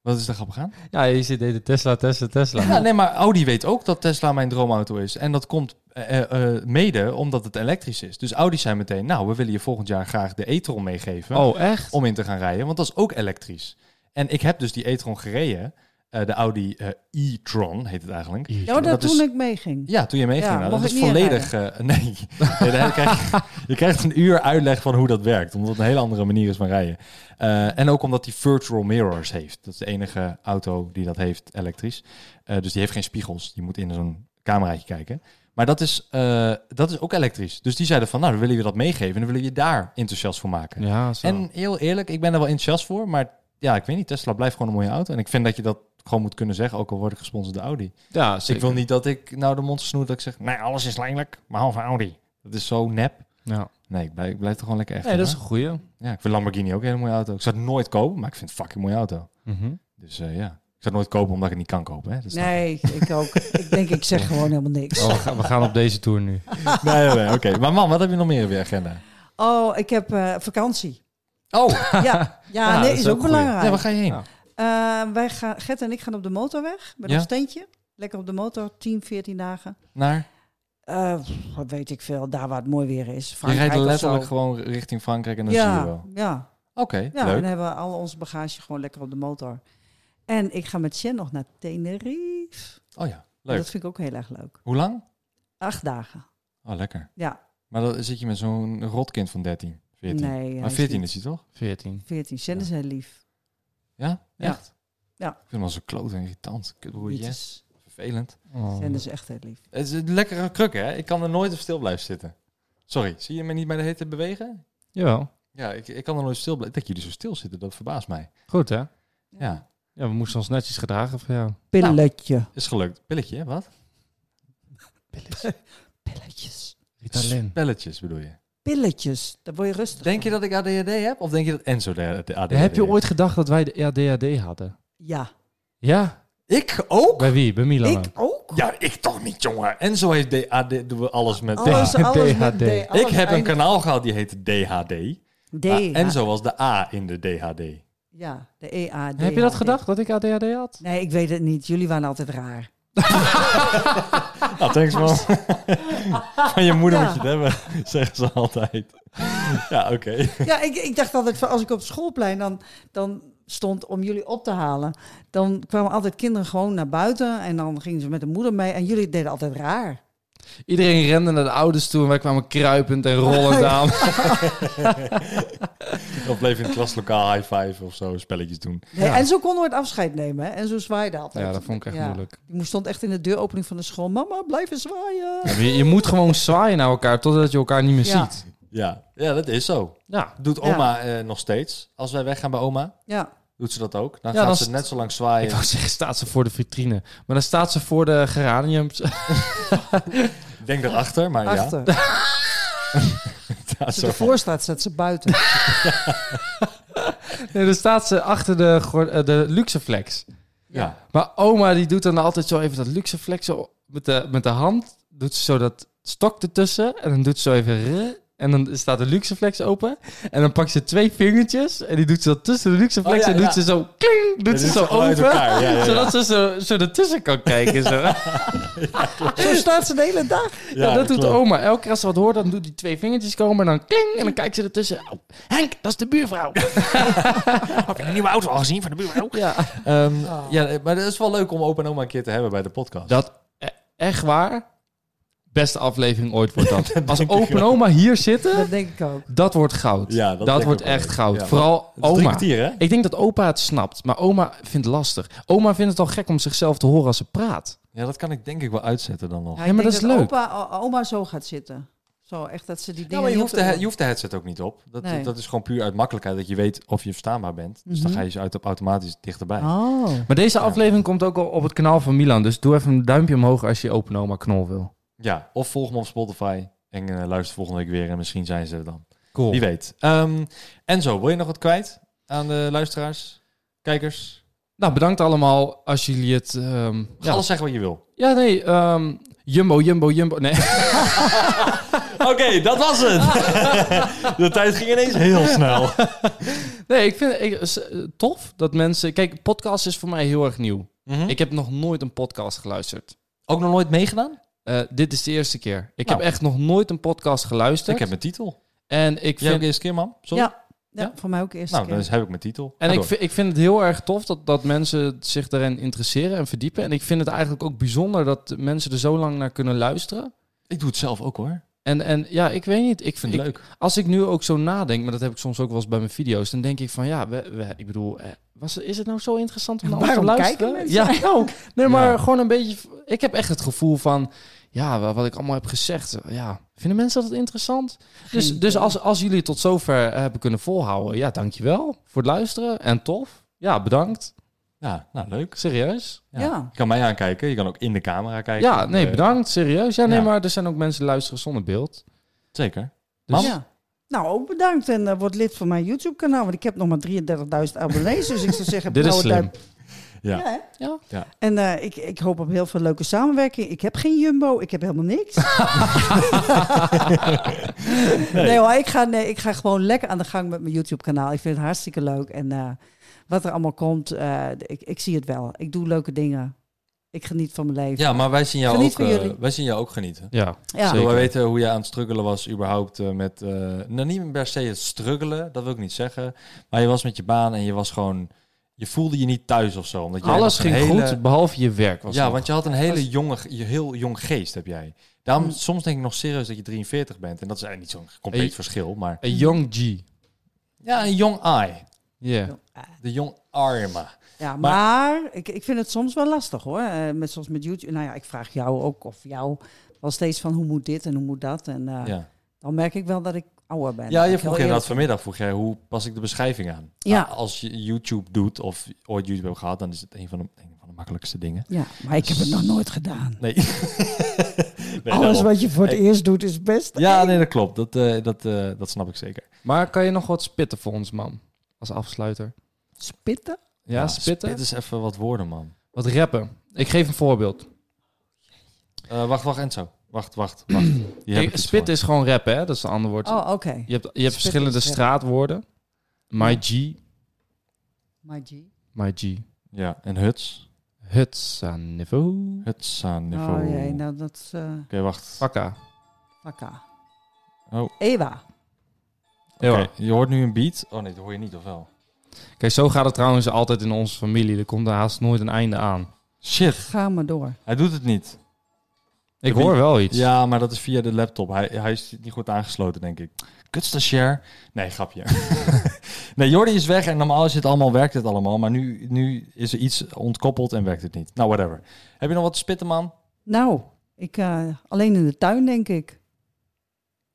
Wat is er grappig aan? Ja, je zit de Tesla, Tesla, Tesla. Ja, nee, maar Audi weet ook dat Tesla mijn droomauto is. En dat komt eh, eh, eh, mede omdat het elektrisch is. Dus Audi zei meteen, nou, we willen je volgend jaar graag de e-tron meegeven. Oh, echt? om in te gaan rijden, want dat is ook elektrisch. En ik heb dus die e-tron gereden, eh, de Audi eh, e-tron heet het eigenlijk. Ja, dat, dat toen is- ik meeging. Ja, toen je meeging, Ja, nou, mocht dat ik is niet volledig... eh, nee, Nee, daar krijg je, je krijgt een uur uitleg van hoe dat werkt, omdat het een hele andere manier is van rijden. Eh, en ook omdat die virtual mirrors heeft. Dat is de enige auto die dat heeft, elektrisch. Eh, dus die heeft geen spiegels, die moet in zo'n cameraatje kijken. Maar dat is, eh, dat is ook elektrisch. Dus die zeiden van, nou, dan willen we dat meegeven en dan willen we je daar enthousiast voor maken. Ja, zo. En heel eerlijk, ik ben er wel enthousiast voor, maar ja, ik weet niet. Tesla blijft gewoon een mooie auto. En ik vind dat je dat gewoon moet kunnen zeggen, ook al word ik gesponsord door Audi. ja, Dus ik wil niet dat ik nou de mond snoer dat ik zeg, nee, alles is lelijk, behalve Audi. Dat is zo nep. Ja. Nee, ik blijf, ik blijf er gewoon lekker echt. Nee, dat is een goeie. Ja, ik vind Lamborghini ook een hele mooie auto. Ik zou het nooit kopen, maar ik vind het fucking mooie auto. Mhm. Dus eh, ja, ik zou het nooit kopen omdat ik het niet kan kopen. Hè? Dus Dat snap je. Nee, ik ook. ik denk, ik zeg gewoon helemaal niks. Oh, we, gaan, we gaan op deze tour nu. nee, nee, nee, Oké, maar man, wat heb je nog meer op je agenda? Oh, ik heb eh, vakantie. Oh, Ja, ja, nee, dat is, een ook goeie. belangrijk. Ja, waar ga je heen? Ja. Eh, wij gaan, Gert en ik gaan op de motorweg met Ja? ons tentje. Lekker op de motor, 10, 14 dagen. Naar? Eh, pff, wat weet ik veel, daar waar het mooi weer is. Je Frankrijk rijdt of zo. letterlijk gewoon richting Frankrijk en dan zie je ja, wel. ja, Oké, ja, leuk. dan hebben we al onze bagage gewoon lekker op de motor. En ik ga met Jen nog naar Tenerife. Oh ja, Dat leuk. vind ik ook heel erg leuk. Hoe lang? Acht dagen. Oh, lekker. Ja, Maar dan zit je met zo'n rotkind van 13, 14. nee. hij maar is 14 niet is hij toch? 14. 14. Jen is heel lief. Ja? Ja. Echt? Ja. Ik vind hem al zo kloot en irritant. Kutbroertje. Yes. Vervelend. Oh. Jen is echt heel lief. Het is een lekkere kruk, hè? Ik kan er nooit op stil blijven zitten. Sorry, zie je me niet bij de hete bewegen? Jawel. Ja, ik, ik kan er nooit stil blijven. Dat jullie zo stil zitten, dat verbaast mij. Goed, hè? Ja, Ja, we moesten ons netjes gedragen voor jou. Pilletje. is gelukt. Pilletje, hè? wat? Pilletjes. Ritalin. Pelletjes bedoel je. Pilletjes. Dan word je rustig. Denk je dat ik ADHD heb? Of denk je dat Enzo de de ADHD Heb je heeft? ooit gedacht dat wij de ADHD hadden? Ja. Ja. Ik ook? Bij wie? Bij Milan? Ik ook. Ja, ik toch niet, jongen. Enzo heeft DAD, doen we alles met Alles, DHD. alles met DHD. D. Ik Alles heb een eindigt- kanaal gehad die heette DHD. D. Ah, Enzo was de A in de DHD. Ja, de E, EAD. Heb je dat gedacht, dat ik ADHD had? Nee, ik weet het niet. Jullie waren altijd raar. Ah, thanks man. Van je moeder Ja. moet je het hebben, zeggen ze altijd. Ja, oké. Ja, ik, ik dacht altijd, van, als ik op het schoolplein dan, dan stond om jullie op te halen, dan kwamen altijd kinderen gewoon naar buiten en dan gingen ze met de moeder mee en jullie deden altijd raar. Iedereen rende naar de ouders toe en wij kwamen kruipend en rollend aan. Of bleef in het klaslokaal high five of zo, spelletjes doen. Nee, En zo kon nooit afscheid nemen hè, en zo zwaaide altijd. Ja, dat vond ik echt Ja. moeilijk. Die moest stond echt in de deuropening van de school. Mama, blijf eens zwaaien. Ja, maar Je, je moet gewoon zwaaien naar elkaar totdat je elkaar niet meer Ja. ziet. Ja, ja dat is zo. Ja. Doet oma eh, nog steeds? Als wij weggaan bij oma, Ja, doet ze dat ook? Dan Ja, gaat dan ze st- net zo lang Ik zwaaien. wou zeggen, staat ze voor de vitrine. Maar dan staat ze voor de geraniums. Ik denk daarachter, maar achter. ja. Daar Als ze zo van. ervoor staat, staat ze buiten. Nee, dan staat ze achter de, gor- eh, de Luxeflex. Ja. Maar oma die doet dan altijd zo even dat luxe flexen met de, met de hand. Doet ze zo dat stok ertussen. En dan doet ze zo even... rrr. en dan staat de luxe flex open. En dan pakt ze twee vingertjes. En die doet ze dat tussen de luxe flex. Oh, ja, en doet ja. ze zo... Kling, doet Ja, ze dit zo is gewoon uit open. elkaar. Ja, ja, ja. Zodat ze zo, zo ertussen kan kijken. Zo. Ja, zo staat ze de hele dag. Ja, dat doet klopt. oma. Elke keer als ze wat hoort, dan doet die twee vingertjes komen. En dan kling. En dan kijkt ze ertussen. Oh, Henk, dat is de buurvrouw. Heb je een nieuwe auto al gezien van de buurman? ja. Ehm, Ah. ja, maar dat is wel leuk om opa en oma een keer te hebben bij de podcast. Dat, e- echt waar. beste aflevering ooit wordt dat. Als opa en oma hier zitten, Dat denk ik ook. dat wordt goud. Ja, dat dat denk ik wordt ook wel. echt goud. Ja. Vooral Het is drie oma. kwartier, hè? Ik denk dat opa het snapt, maar oma vindt het lastig. Oma vindt het al gek om zichzelf te horen als ze praat. Ja, dat kan ik denk ik wel uitzetten dan nog. Nou, Ja, Ja, maar dat is leuk. Opa, o- oma zo gaat zitten. Zo echt dat ze die dingen. Ja, Nou, maar je niet hoeft, op de, he- je hoeft de headset ook niet op. Dat, Nee. dat is gewoon puur uit makkelijkheid dat je weet of je verstaanbaar bent. Dus dan Mhm. ga je ze uit, automatisch dichterbij. Oh. Maar deze aflevering komt ook al op het kanaal van Milan. Dus doe even een duimpje omhoog als je open oma knol wil. Ja, of volg me op Spotify en eh, luister volgende week weer en misschien zijn ze er dan. Cool. Wie weet. Ehm, Enzo, wil je nog wat kwijt aan de luisteraars, kijkers? Nou, bedankt allemaal als jullie het... ehm, Ga ja. alles zeggen wat je wil. ja, nee. ehm, jumbo, jumbo, jumbo. Nee. Oké, dat was het. de tijd ging ineens heel snel. Nee, ik vind ik, is, eh, tof dat mensen... Kijk, podcast is voor mij heel erg nieuw. Mhm. Ik heb nog nooit een podcast geluisterd. Ook nog nooit meegedaan? Eh, dit is de eerste keer. Ik Nou. heb echt nog nooit een podcast geluisterd. Ik heb mijn titel. En ik Jij ook vind, eerste keer, man? Sorry? Ja. Ja, Ja? voor mij ook eerst. Nou, dan is- heb ik mijn titel. Ga en ik, door. vind, ik vind het heel erg tof dat, dat mensen zich daarin interesseren en verdiepen. En ik vind het eigenlijk ook bijzonder dat mensen er zo lang naar kunnen luisteren. ik doe het zelf ook hoor. En, en ja, ik weet niet. Ik Vind vind het ik- leuk. Als ik nu ook zo nadenk, maar dat heb ik soms ook wel eens bij mijn video's, dan denk ik van ja, we, we- ik bedoel, eh, was, is het nou zo interessant om naar ons te Waarom luisteren? kijken mensen ja, nou, nee, maar Ja. gewoon een beetje. v- Ik heb echt het gevoel van ja, wa- wat ik allemaal heb gezegd. eh, Ja, vinden mensen dat interessant? Dus, idee. dus als, als jullie het tot zover eh, hebben kunnen volhouden, ja, dankjewel voor het luisteren en tof. Ja, bedankt. Ja, nou leuk. Serieus? Ja. Je kan mij aankijken, je kan ook in de camera kijken. Ja, nee, Eh, bedankt. Serieus? Ja, nee, ja. maar er zijn ook mensen die luisteren zonder beeld. Zeker. Dus- Mam? Ja. Nou, ook bedankt en eh, word lid van mijn YouTube-kanaal, want ik heb nog maar 33.000 abonnees, dus ik zou zeggen... Dit is blauwe slim. duim. Ja. Ja, hè? Ja. Ja. En eh, ik, ik hoop op heel veel leuke samenwerking. Ik heb geen Jumbo, ik heb helemaal niks. nee hoor, ik ga, nee, ik ga gewoon lekker aan de gang met mijn YouTube-kanaal. Ik vind het hartstikke leuk en eh, wat er allemaal komt, eh, ik, ik zie het wel. Ik doe leuke dingen. Ik geniet van mijn leven. Ja, maar wij zien jou, Geniet ook, van eh, jullie. wij zien jou ook genieten. Ja, Ja. Wil zeker. wij weten hoe je aan het struggelen was überhaupt eh, met... eh, nou, niet per se het struggelen, dat wil ik niet zeggen. Maar je was met je baan en je was gewoon... Je voelde je niet thuis of zo. Omdat jij Alles was een ging hele- goed, behalve je werk. Was ja, nog. want je had een hele jonge, je heel jong geest, heb jij. Daarom, Mm. soms denk ik nog serieus dat je 43 bent. En dat is eigenlijk niet zo'n compleet Hey. verschil, maar... Een young G. Ja, een jong eye. Ja. De jong arma. Ja, maar, Maar- ik, ik vind het soms wel lastig hoor. Eh, met soms met YouTube. Nou ja, ik vraag jou ook of jou wel steeds van hoe moet dit en hoe moet dat. En eh, Ja, dan merk ik wel dat ik ouder ben. ja Dat je ik vroeg heel inderdaad eerlijk- vanmiddag, vroeg jij, hoe pas ik de beschrijving aan? Ja. Nou, als je YouTube doet of ooit YouTube hebt gehad, dan is het een van de, een van de makkelijkste dingen. Ja, maar ik heb het nog nooit gedaan. Nee. Nee, Alles daarom. wat je voor het Ik- eerst doet is best. Ja, nee, dat klopt. Dat, eh, dat, eh, dat snap ik zeker. Maar kan je nog wat spitten voor ons, man? Als afsluiter. Spitten? Ja, spitten? Dit is even wat woorden, man. Wat rappen. Ik geef een voorbeeld. Eh, wacht, wacht, Enzo. Wacht, wacht, wacht. Hier heb ik Kijk, iets spit voor. is gewoon rappen, hè? Dat is een ander woord. Oh, oké. Je hebt, je hebt is verschillende rappen. straatwoorden. My G. My G. My G. Ja, en huts. Hutsa niveau. Huts aan niveau. Oh jee, nou dat is eh Oké, wacht. Fakka. Fakka. Oh. Ewa. Heel Oké, erg. je hoort nu een beat. Oh nee, dat hoor je niet, of wel? Kijk, zo gaat het trouwens altijd in onze familie. Er komt er haast nooit een einde aan. Shit, Ga maar door. hij doet het niet. Ik hoor wel iets. Ja, maar dat is via de laptop. Hij, hij is niet goed aangesloten, denk ik. Kutste share. Nee, grapje. nee, Jordi is weg en normaal is het allemaal, werkt het allemaal. Maar nu, nu is er iets ontkoppeld en werkt het niet. Nou, whatever. Heb je nog wat te spitten, man? Nou, ik, eh, alleen in de tuin denk ik.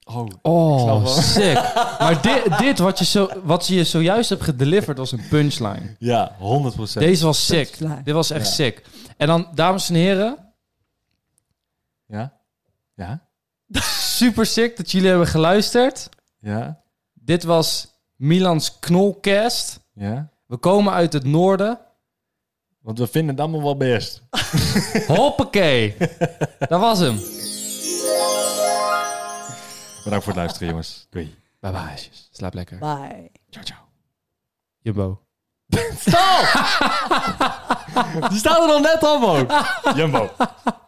Oh, Oh, Ik snap wel. sick. maar dit, dit wat, je zo, wat je zojuist hebt gedeliverd was een punchline. ja, 100 Deze was sick. Punchline. Dit was echt Ja. sick. En dan, dames en heren, Ja? Ja? super sick dat jullie hebben geluisterd. Ja? Dit was Milans Knolcast. Ja? We komen uit het noorden. Want we vinden het allemaal wel best. Hoppakee. Dat was hem. Bedankt voor het luisteren, jongens. Doei. Bye bye. Slaap lekker. Bye. Ciao, ciao. Jumbo. Die staat er nog net op, ook. Jumbo.